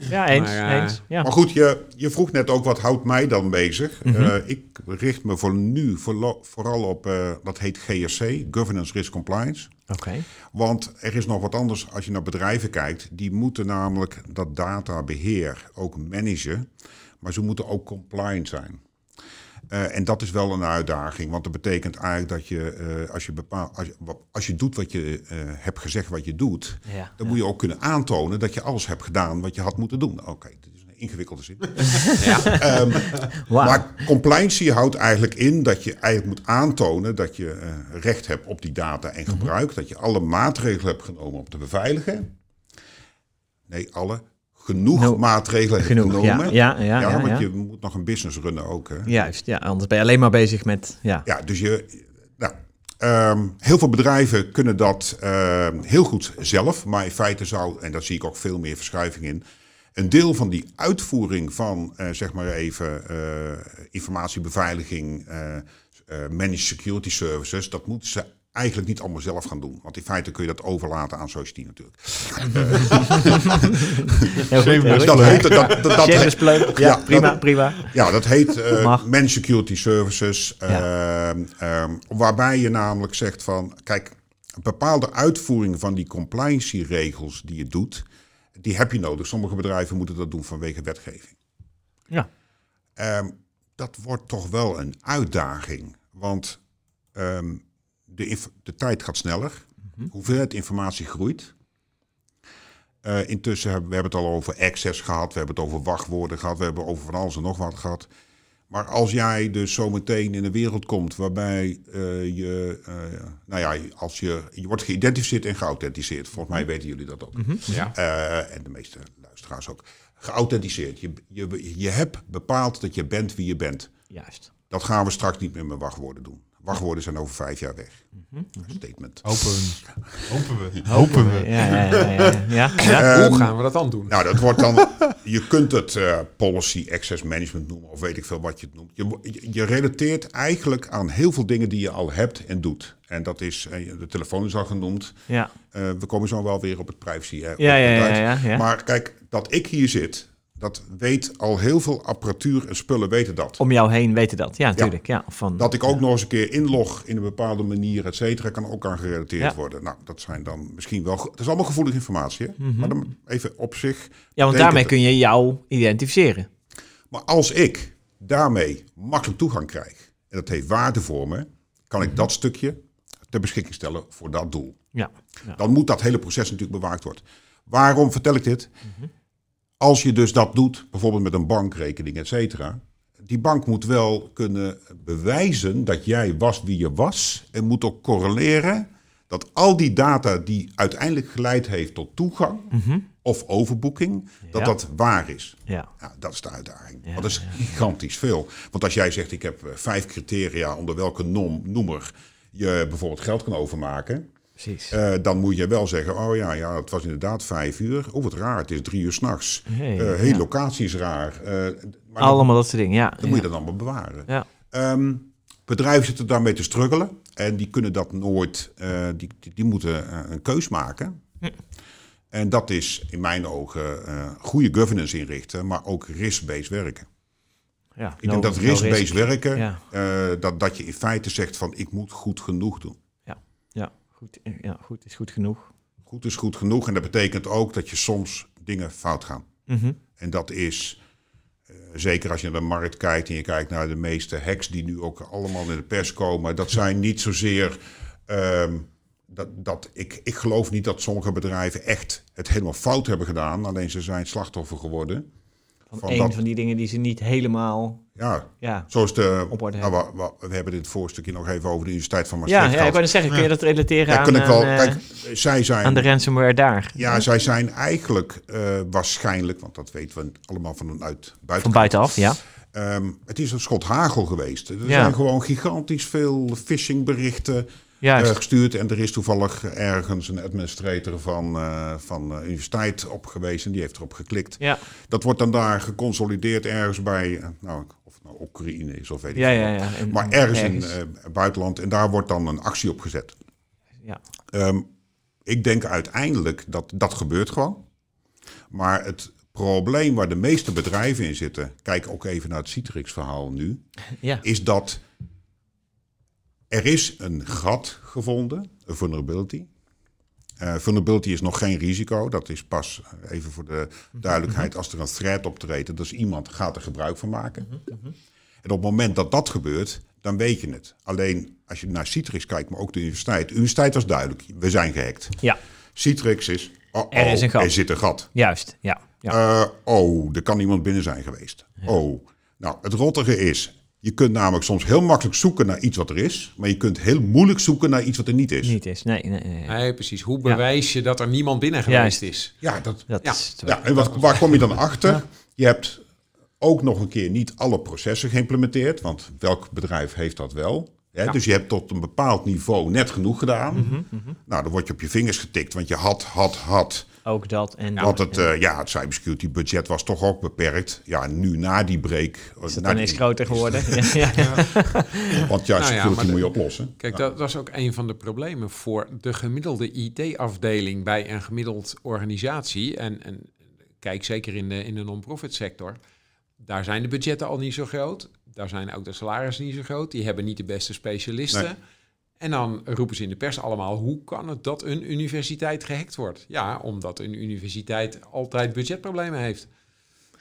Speaker 1: Ja, eens.
Speaker 2: Maar, eh,
Speaker 1: eens. Ja.
Speaker 4: Maar goed, je, je vroeg net ook wat houdt mij dan bezig.
Speaker 1: Mhm.
Speaker 4: Eh, ik richt me voor nu voorlo- vooral op, eh, dat heet GRC, Governance Risk Compliance.
Speaker 1: Oké.
Speaker 4: Want er is nog wat anders als je naar bedrijven kijkt. Die moeten namelijk dat databeheer ook managen, maar ze moeten ook compliant zijn. Eh, en dat is wel een uitdaging, want dat betekent eigenlijk dat je, eh, als, je bepaalt, als, je, wa- als je doet wat je eh, hebt gezegd wat je doet,
Speaker 1: Ja.
Speaker 4: dan moet je ook kunnen aantonen dat je alles hebt gedaan wat je had moeten doen. Oké, dit is een ingewikkelde zin. Ehm,
Speaker 1: Wauw.
Speaker 4: Maar compliancy houdt eigenlijk in dat je eigenlijk moet aantonen dat je eh, recht hebt op die data
Speaker 1: Mhm.
Speaker 4: en gebruik. Dat je alle maatregelen hebt genomen om te beveiligen. Nee, alle genoeg
Speaker 1: No-
Speaker 4: maatregelen hebt
Speaker 1: Genoeg. Ja,
Speaker 4: genomen.
Speaker 1: ja, ja. ja,
Speaker 4: want
Speaker 1: ja.
Speaker 4: je moet nog een business runnen ook. Hè?
Speaker 1: Juist, ja. Anders ben je alleen maar bezig met... Ja.
Speaker 4: Ja, dus je. Nou, ehm, heel veel bedrijven kunnen dat ehm, heel goed zelf. Maar in feite zou, en daar zie ik ook veel meer verschuiving in. Een deel van die uitvoering van, eh, zeg maar even, eh, informatiebeveiliging, eh, eh, managed security services, dat moeten ze eigenlijk niet allemaal zelf gaan doen. Want in feite kun je dat overlaten aan Society natuurlijk.
Speaker 1: Heel goed, heel
Speaker 4: Dus
Speaker 1: goed.
Speaker 4: dat heet, dat, dat, dat,
Speaker 1: James Pleuk. Ja,
Speaker 4: Ja,
Speaker 1: prima,
Speaker 4: dat-
Speaker 1: prima.
Speaker 4: Ja, dat heet eh
Speaker 1: Mag.
Speaker 4: Managed Security Services. ehm, ehm, waarbij je namelijk zegt van, kijk, een bepaalde uitvoering van die compliancy regels die je doet, die heb je nodig. Sommige bedrijven moeten dat doen vanwege wetgeving.
Speaker 1: Ja.
Speaker 4: Ehm, dat wordt toch wel een uitdaging, want ehm, de, inf- de tijd gaat sneller,
Speaker 1: Mhm.
Speaker 4: hoeveelheid informatie groeit. Eh, intussen hebben we hebben het al over access gehad, we hebben het over wachtwoorden gehad, we hebben over van alles en nog wat gehad. Maar als jij dus zometeen in een wereld komt waarbij eh, je, eh, nou ja, als je, je wordt geïdentificeerd en geauthenticeerd, volgens mij weten jullie dat ook.
Speaker 2: Ja.
Speaker 4: Eh, en de meeste luisteraars ook. Geauthenticeerd. Je, je, je hebt bepaald dat je bent wie je bent.
Speaker 1: Juist.
Speaker 4: Dat gaan we straks niet meer met wachtwoorden doen. Wachtwoorden zijn over vijf jaar weg. Statement.
Speaker 3: Hopen. Hopen we. Hopen we.
Speaker 1: Ja, ja, ja. ja, ja. ja.
Speaker 4: [laughs]
Speaker 2: Hoe gaan we dat dan doen?
Speaker 4: Nou, dat wordt dan. je kunt het eh, policy access management noemen, of weet ik veel wat je het noemt. Je, mo- je- je relateert eigenlijk aan heel veel dingen die je al hebt en doet. En dat is, eh, de telefoon is al genoemd.
Speaker 1: ja.
Speaker 4: Eh, we komen zo wel weer op het privacy. hè,
Speaker 1: Ja, ja,
Speaker 4: op het
Speaker 1: ja,
Speaker 4: uit.
Speaker 1: ja, ja.
Speaker 4: Maar kijk, dat ik hier zit, dat weet al heel veel apparatuur en spullen weten dat.
Speaker 1: Om jou heen weten dat. Ja, natuurlijk. Ja. Van,
Speaker 4: Dat ik ook nog eens een keer inlog in een bepaalde manier, et cetera, kan ook aan gerelateerd
Speaker 1: Ja.
Speaker 4: worden. Nou, dat zijn dan misschien wel. ge- Het is allemaal gevoelige informatie, hè? maar dan even op zich.
Speaker 1: Mhm. ja, want
Speaker 4: betekent
Speaker 1: daarmee
Speaker 4: het-
Speaker 1: kun je jou identificeren.
Speaker 4: Maar als ik daarmee makkelijk toegang krijg en dat heeft waarde voor me, kan
Speaker 1: Mhm.
Speaker 4: ik dat stukje ter beschikking stellen voor dat doel.
Speaker 1: Ja.
Speaker 4: Dan moet dat hele proces natuurlijk bewaakt worden. Waarom vertel ik dit? Als je dus dat doet, bijvoorbeeld met een bankrekening, et cetera. Die bank moet wel kunnen bewijzen dat jij was wie je was. En moet ook correleren dat al die data die uiteindelijk geleid heeft tot toegang of overboeking, dat
Speaker 1: Ja.
Speaker 4: dat waar is.
Speaker 1: Ja.
Speaker 4: Ja, dat is de uitdaging. Want dat is gigantisch veel. Want als jij zegt, ik heb eh, vijf criteria onder welke nom, noemer je bijvoorbeeld geld kan overmaken.
Speaker 1: Precies.
Speaker 4: Eh, dan moet je wel zeggen, oh ja, ja, het was inderdaad vijf uur. Oh, wat raar, het is drie uur s'nachts.
Speaker 1: Hey,
Speaker 4: Hey, hey,
Speaker 1: ja.
Speaker 4: locatie is raar. Eh, maar dan,
Speaker 1: Allemaal dat soort dingen. Ja.
Speaker 4: dan moet je dat allemaal bewaren.
Speaker 1: Ja.
Speaker 4: Ehm, bedrijven zitten daarmee te struggelen. En die kunnen dat nooit, eh, die, die, die moeten eh, een keus maken. En dat is in mijn ogen eh, goede governance inrichten, maar ook risk-based werken.
Speaker 1: ja.
Speaker 4: Ik denk dat risk-based werken,
Speaker 1: Nou, Ja.
Speaker 4: eh, dat, dat je in feite zegt van ik moet goed genoeg doen.
Speaker 1: Ja. Goed, ja, goed is goed genoeg.
Speaker 4: Goed is goed genoeg en dat betekent ook dat je soms dingen fout gaan.
Speaker 1: Mhm.
Speaker 4: En dat is, eh, zeker als je naar de markt kijkt en je kijkt naar de meeste hacks die nu ook allemaal in de pers komen, dat zijn niet zozeer. ehm, dat, dat, ik, ik geloof niet dat sommige bedrijven echt het helemaal fout hebben gedaan, alleen ze zijn slachtoffer geworden.
Speaker 1: Van,
Speaker 4: Van
Speaker 1: één
Speaker 4: dat-
Speaker 1: van die dingen die ze niet helemaal...
Speaker 4: Ja,
Speaker 1: Ja.
Speaker 4: zoals de.
Speaker 1: Op orde
Speaker 4: nou, wa- wa- we hebben dit voorstukje nog even over de Universiteit van
Speaker 1: Ja,
Speaker 4: Maastricht.
Speaker 1: ja, ik wou
Speaker 4: gehad.
Speaker 1: net zeggen, kun je dat relateren
Speaker 4: Daar
Speaker 1: aan,
Speaker 4: kan ik wel.
Speaker 1: aan, eh,
Speaker 4: Kijk, zij zijn.
Speaker 1: aan de ransomware daar?
Speaker 4: Ja, zij zijn eigenlijk eh, waarschijnlijk, want dat weten we allemaal vanuit
Speaker 1: Van
Speaker 4: buiten.
Speaker 1: buitenaf, ja.
Speaker 4: Ehm, het is een schot hagel geweest. Er
Speaker 1: Ja.
Speaker 4: zijn gewoon gigantisch veel phishingberichten eh,
Speaker 1: Juist.
Speaker 4: gestuurd. En er is toevallig ergens een administrator van, eh, van de universiteit op geweest. En die heeft erop geklikt.
Speaker 1: Ja,
Speaker 4: Dat wordt dan daar geconsolideerd ergens bij, eh, nou, of het nou Oekraïne is of weet ik
Speaker 1: ja,
Speaker 4: veel
Speaker 1: ja.
Speaker 4: wat.
Speaker 1: ja. En-
Speaker 4: Maar ergens in eh, het buitenland. En daar wordt dan een actie op gezet.
Speaker 1: Ja.
Speaker 4: Ehm, ik denk uiteindelijk dat dat gebeurt gewoon. Maar het probleem waar de meeste bedrijven in zitten, kijk ook even naar het Citrix-verhaal nu,
Speaker 1: Ja.
Speaker 4: is dat er is een gat gevonden, een vulnerability. Eh, vulnerability is nog geen risico. Dat is pas, eh, even voor de duidelijkheid, als er een threat optreedt, dus iemand gaat er gebruik van maken. En op het moment dat dat gebeurt, dan weet je het. Alleen als je naar Citrix kijkt, maar ook de universiteit. De universiteit was duidelijk, we zijn gehackt.
Speaker 1: ja,
Speaker 4: Citrix is, oh,
Speaker 1: Er
Speaker 4: oh,
Speaker 1: is een gat.
Speaker 4: er zit een gat.
Speaker 1: juist. Ja. ja.
Speaker 4: Eh, oh, er kan iemand binnen zijn geweest. Oh. Nou, het rottige is, je kunt namelijk soms heel makkelijk zoeken naar iets wat er is, maar je kunt heel moeilijk zoeken naar iets wat er niet is.
Speaker 1: Niet is. Nee, nee, nee.
Speaker 2: Nee, precies. Hoe
Speaker 1: Ja.
Speaker 2: bewijs je dat er niemand binnen
Speaker 1: Juist.
Speaker 2: geweest is?
Speaker 4: Ja, dat,
Speaker 1: Dat
Speaker 2: Ja.
Speaker 1: is
Speaker 4: ja en wat, waar kom je
Speaker 1: [laughs]
Speaker 4: dan achter? Je hebt ook nog een keer niet alle processen geïmplementeerd, want welk bedrijf heeft dat wel? Hè, Dus je hebt tot een bepaald niveau net genoeg gedaan.
Speaker 1: Mhm,
Speaker 4: Nou, dan word je op je vingers getikt, want je had, had, had.
Speaker 1: ook dat. En
Speaker 4: Want het, eh, ja, het cybersecurity budget was toch ook beperkt. Ja, nu na die break...
Speaker 1: is het
Speaker 4: na
Speaker 1: dan
Speaker 4: die-
Speaker 1: eens groter
Speaker 4: [laughs]
Speaker 1: geworden. ja, ja.
Speaker 4: Want ja,
Speaker 2: Nou ja,
Speaker 4: security
Speaker 2: maar de-
Speaker 4: moet je oplossen.
Speaker 2: Kijk, dat was ook een van de problemen voor de gemiddelde IT-afdeling bij een gemiddeld organisatie. En, en kijk, zeker in de, in de non-profit sector. Daar zijn de budgetten al niet zo groot. Daar zijn ook de salarissen niet zo groot. Die hebben niet de beste specialisten.
Speaker 4: Nee.
Speaker 2: En dan roepen ze in de pers allemaal: hoe kan het dat een universiteit gehackt wordt? Ja, omdat een universiteit altijd budgetproblemen heeft.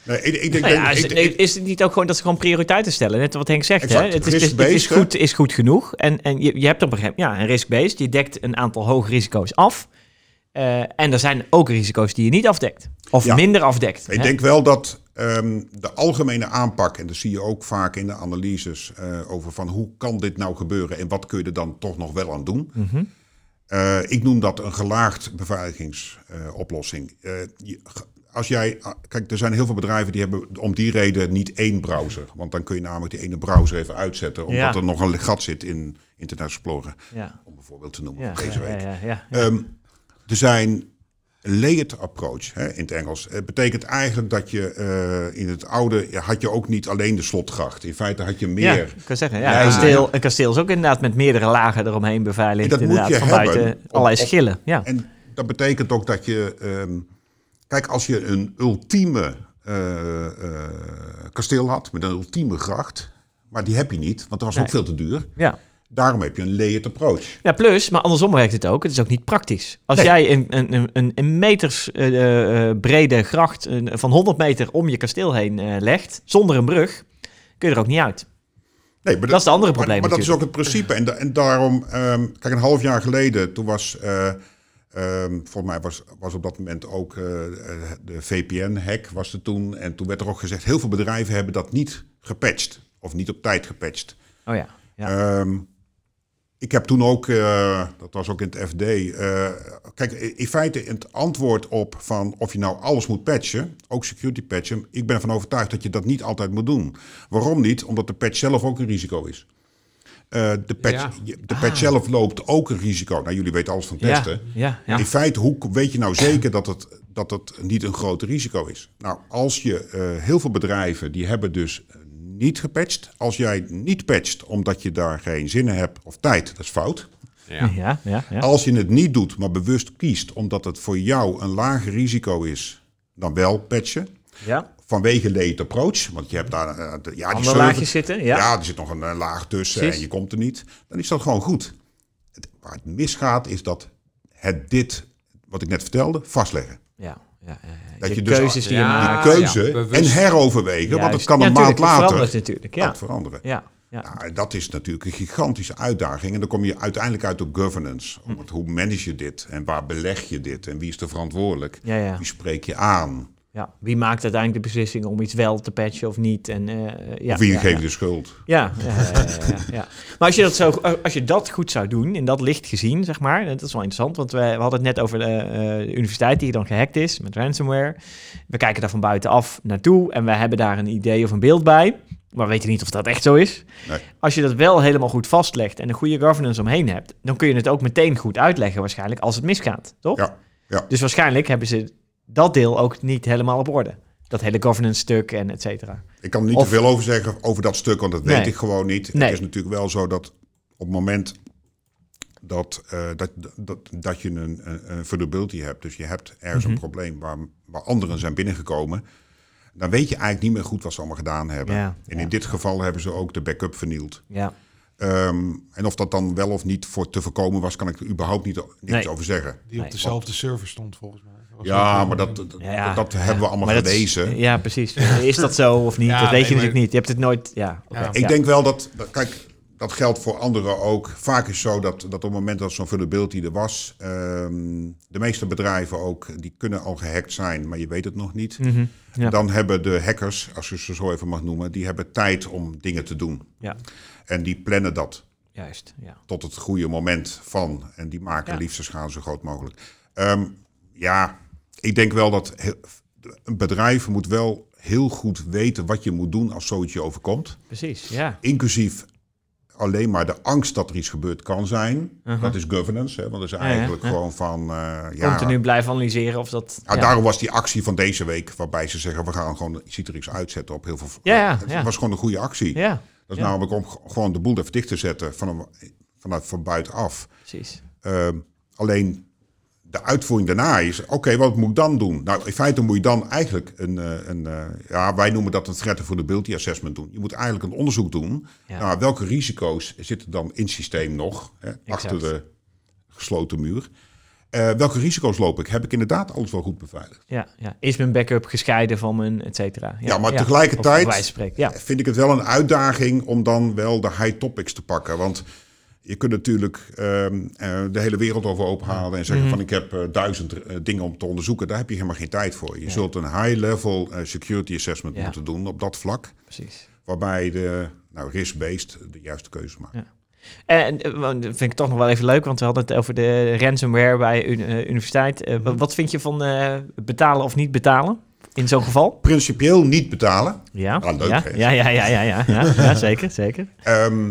Speaker 4: Nee, ik, ik denk...
Speaker 1: Nou ja,
Speaker 4: ik-
Speaker 1: is,
Speaker 4: ik-
Speaker 1: nee, is het niet ook gewoon dat ze gewoon prioriteiten stellen? Net wat Henk zegt, hè?
Speaker 4: Exact.
Speaker 1: Het is, het is- het is
Speaker 4: Risk-based, hè?
Speaker 1: goed, is goed genoeg. En, en je, je hebt op een gegeven moment, ja, een risk-based. Je dekt een aantal hoge risico's af. Eh, en er zijn ook risico's die je niet afdekt. Of
Speaker 4: Ja.
Speaker 1: minder afdekt.
Speaker 4: Ik
Speaker 1: hè?
Speaker 4: denk wel dat ehm, de algemene aanpak, en dat zie je ook vaak in de analyses eh, over van hoe kan dit nou gebeuren en wat kun je er dan toch nog wel aan doen.
Speaker 1: Mhm.
Speaker 4: Eh, ik noem dat een gelaagd beveiligingsoplossing. Eh, als jij, ah, kijk, er zijn heel veel bedrijven die hebben om die reden niet één browser. Want dan kun je namelijk die ene browser even uitzetten, omdat
Speaker 1: Ja.
Speaker 4: er nog een gat zit in Internet Explorer.
Speaker 1: Ja.
Speaker 4: Om bijvoorbeeld te noemen
Speaker 1: Ja, ja,
Speaker 4: deze week.
Speaker 1: ja, ja, ja.
Speaker 4: Ehm, er zijn layered approach hè, in het Engels. Het betekent eigenlijk dat je eh, in het oude ja, had je ook niet alleen de slotgracht. In feite had je
Speaker 1: Ja,
Speaker 4: meer.
Speaker 1: ik kan zeggen, ja,
Speaker 4: Ja,
Speaker 1: een,
Speaker 4: ja.
Speaker 1: kasteel, een kasteel is ook inderdaad met meerdere lagen eromheen beveiligd.
Speaker 4: En dat moet
Speaker 1: inderdaad,
Speaker 4: je
Speaker 1: van
Speaker 4: hebben
Speaker 1: buiten
Speaker 4: om-
Speaker 1: allerlei
Speaker 4: om-
Speaker 1: schillen. Ja.
Speaker 4: En dat betekent ook dat je. ehm, kijk, als je een ultieme eh, eh, kasteel had met een ultieme gracht, maar die heb je niet, want dat was ook veel te duur.
Speaker 1: ja.
Speaker 4: Daarom heb je een layered approach.
Speaker 1: Ja, plus, maar andersom werkt het ook. Het is ook niet praktisch. Als
Speaker 4: Nee.
Speaker 1: jij een, een, een- een, een meters eh, eh, brede gracht een- van 100 meter om je kasteel heen eh, legt, zonder een brug, kun je er ook niet uit.
Speaker 4: Nee, maar
Speaker 1: Dat is het andere probleem
Speaker 4: Maar, maar dat is ook
Speaker 1: natuurlijk.
Speaker 4: het principe. En, da- en daarom, ehm, kijk, een half jaar geleden, toen was, eh, ehm, volgens mij was, was op dat moment ook eh, de VPN-hack was er toen. En toen werd er ook gezegd, heel veel bedrijven hebben dat niet gepatcht. Of niet op tijd gepatcht.
Speaker 1: Oh ja. ja.
Speaker 4: Ehm, ik heb toen ook, eh, dat was ook in het FD. eh, kijk, in feite het antwoord op van of je nou alles moet patchen, ook security patchen. Ik ben ervan overtuigd dat je dat niet altijd moet doen. Waarom niet? Omdat de patch zelf ook een risico is. Eh, de patch,
Speaker 2: Ja.
Speaker 4: je- de patch zelf loopt ook een risico. Nou, jullie weten alles van
Speaker 1: Ah. ja,
Speaker 4: testen.
Speaker 1: ja, ja.
Speaker 4: In feite, hoe k- weet je nou zeker dat het, dat het niet een groot risico is? Nou, als je eh, heel veel bedrijven die hebben dus niet gepatcht. Als jij niet patcht omdat je daar geen zin in hebt of tijd, dat is fout.
Speaker 2: Ja.
Speaker 1: Ja, ja, ja.
Speaker 4: Als je het niet doet, maar bewust kiest omdat het voor jou een lager risico is dan wel patchen.
Speaker 1: ja.
Speaker 4: Vanwege late approach, want je hebt daar eh, de- ja, die
Speaker 1: Andere
Speaker 4: server-
Speaker 1: laagjes zitten, ja.
Speaker 4: ja. er zit nog een eh, laag tussen
Speaker 1: Precies.
Speaker 4: en je komt er niet. Dan is dat gewoon goed. Het, waar het misgaat is dat het dit, wat ik net vertelde, vastleggen.
Speaker 1: ja, ja, ja, ja.
Speaker 4: Dat
Speaker 1: De
Speaker 4: je dus-
Speaker 1: keuzes die je
Speaker 2: Ja,
Speaker 1: maakt.
Speaker 4: Die keuze
Speaker 2: ja, bewust.
Speaker 4: en heroverwegen, want het
Speaker 1: Juist.
Speaker 4: kan
Speaker 1: Ja,
Speaker 4: een maand
Speaker 1: natuurlijk, het
Speaker 4: later
Speaker 1: verandert natuurlijk, ja.
Speaker 4: dat veranderen.
Speaker 1: Ja, ja.
Speaker 4: Nou, en dat is natuurlijk een gigantische uitdaging. En dan kom je uiteindelijk uit op governance.
Speaker 1: Hm.
Speaker 4: Want hoe manage je dit en waar beleg je dit en wie is er verantwoordelijk?
Speaker 1: Ja, ja.
Speaker 4: Wie spreek je aan?
Speaker 1: ja. Dus Wie maakt uiteindelijk de beslissing om iets wel te patchen of niet? En, eh, ja,
Speaker 4: of wie
Speaker 1: ja,
Speaker 4: geeft
Speaker 1: ja.
Speaker 4: de schuld?
Speaker 1: Ja, ja, ja, ja, ja, ja. maar als je, dat zo, eh, als je dat goed zou doen, in dat licht gezien, zeg maar, dat is wel interessant, want we, we hadden het net over de, eh, de universiteit die dan gehackt is met ransomware. We kijken daar van buitenaf naartoe en we hebben daar een idee of een beeld bij, maar we weten niet of dat echt zo is.
Speaker 4: Nee.
Speaker 1: Als je dat wel helemaal goed vastlegt en een goede governance omheen hebt, dan kun je het ook meteen goed uitleggen waarschijnlijk als het misgaat, toch?
Speaker 4: Ja, ja.
Speaker 1: Dus waarschijnlijk hebben ze dat deel ook niet helemaal op orde. Dat hele governance stuk en et cetera.
Speaker 4: Ik kan er niet
Speaker 1: Of-
Speaker 4: te veel over zeggen over dat stuk, want dat
Speaker 1: Nee.
Speaker 4: weet ik gewoon niet.
Speaker 1: Nee.
Speaker 4: Het is natuurlijk wel zo dat op het moment
Speaker 1: Mhm.
Speaker 4: dat, eh, dat, dat, dat je een, een, een vulnerability hebt, dus je hebt ergens een probleem waar waar anderen zijn binnengekomen, dan weet je eigenlijk niet meer goed wat ze allemaal gedaan hebben.
Speaker 1: Ja,
Speaker 4: en
Speaker 1: ja.
Speaker 4: in dit geval hebben ze ook de backup vernield.
Speaker 1: Ja.
Speaker 4: Ehm, en of dat dan wel of niet voor te voorkomen was, kan ik er überhaupt niet, niks
Speaker 1: Nee.
Speaker 4: over zeggen.
Speaker 3: Die
Speaker 1: Nee,
Speaker 3: op dezelfde server stond volgens mij. Was
Speaker 4: Ja,
Speaker 3: ook-
Speaker 4: maar dat, dat,
Speaker 1: Ja.
Speaker 4: dat hebben we allemaal
Speaker 1: Maar dat is-
Speaker 4: gelezen.
Speaker 1: Ja, precies. [laughs] Is dat zo of niet?
Speaker 3: Ja,
Speaker 1: dat weet je
Speaker 3: nee, maar-
Speaker 1: natuurlijk niet. Je hebt het nooit... Ja, oké.
Speaker 3: Ja.
Speaker 4: Ik
Speaker 1: Ja.
Speaker 4: denk wel dat, dat- kijk, dat geldt voor anderen ook. Vaak is het zo dat, dat op het moment dat zo'n vulnerability er was, ehm, de meeste bedrijven ook, die kunnen al gehackt zijn, maar je weet het nog niet.
Speaker 1: Mhm. Ja.
Speaker 4: Dan hebben de hackers, als je ze zo even mag noemen, die hebben tijd om dingen te doen.
Speaker 1: Ja.
Speaker 4: En die plannen dat
Speaker 1: Juist, ja.
Speaker 4: tot het goede moment van. En die maken
Speaker 1: Ja.
Speaker 4: liefst de schade zo groot mogelijk. Ehm, ja, ik denk wel dat heel- een bedrijf moet wel heel goed weten wat je moet doen als zoiets je overkomt.
Speaker 1: Precies, ja.
Speaker 4: Inclusief alleen maar de angst dat er iets gebeurd kan zijn.
Speaker 1: Mhm.
Speaker 4: Dat is governance, hè, want dat is
Speaker 1: ja,
Speaker 4: eigenlijk
Speaker 1: ja.
Speaker 4: gewoon van... eh, ja,
Speaker 1: Continu blijven analyseren of dat...
Speaker 4: nou,
Speaker 1: ja.
Speaker 4: Daarom was die actie van deze week, waarbij ze zeggen... we gaan gewoon Citrix uitzetten op heel veel... eh,
Speaker 1: Ja, ja,
Speaker 4: Het
Speaker 1: ja.
Speaker 4: was gewoon een goede actie.
Speaker 1: Ja,
Speaker 4: Dat is
Speaker 1: ja.
Speaker 4: namelijk om g- gewoon de boel even dicht te zetten van, een- vanuit van buitenaf.
Speaker 1: precies.
Speaker 4: Ehm, alleen de uitvoering daarna is, oké, wat moet ik dan doen? Nou, in feite moet je dan eigenlijk een, eh, een eh, ja, wij noemen dat een threat vulnerability assessment doen. Je moet eigenlijk een onderzoek doen
Speaker 1: Ja.
Speaker 4: naar welke risico's zitten dan in het systeem nog, hè, achter de gesloten muur. Eh, welke risico's loop ik? Heb ik inderdaad alles wel goed beveiligd?
Speaker 1: Ja, ja. Is mijn backup gescheiden van mijn et cetera?
Speaker 4: Ja, maar
Speaker 1: Of
Speaker 4: tegelijkertijd-
Speaker 1: bij wijze van spreken, ja.
Speaker 4: vind ik het wel een uitdaging om dan wel de high topics te pakken. Want je kunt natuurlijk ehm, eh, de hele wereld over ophalen en
Speaker 1: Mhm.
Speaker 4: zeggen van ik heb eh, duizend eh, dingen om te onderzoeken. Daar heb je helemaal geen tijd voor. Je zult een high-level eh, security assessment
Speaker 1: Ja.
Speaker 4: moeten doen op dat vlak.
Speaker 1: Precies.
Speaker 4: Waarbij de nou, risk-based de juiste keuze maakt.
Speaker 1: Ja. En eh, want dat vind ik toch nog wel even leuk, want we hadden het over de ransomware bij een universiteit. Eh, wa- Wat vind je van eh, betalen of niet betalen in zo'n geval?
Speaker 4: Principieel niet betalen.
Speaker 1: Ja,
Speaker 4: Ah, leuk,
Speaker 1: ja,
Speaker 4: hè?
Speaker 1: ja, ja, ja, ja, ja, [laughs] ja, ja, zeker, zeker.
Speaker 4: Ehm,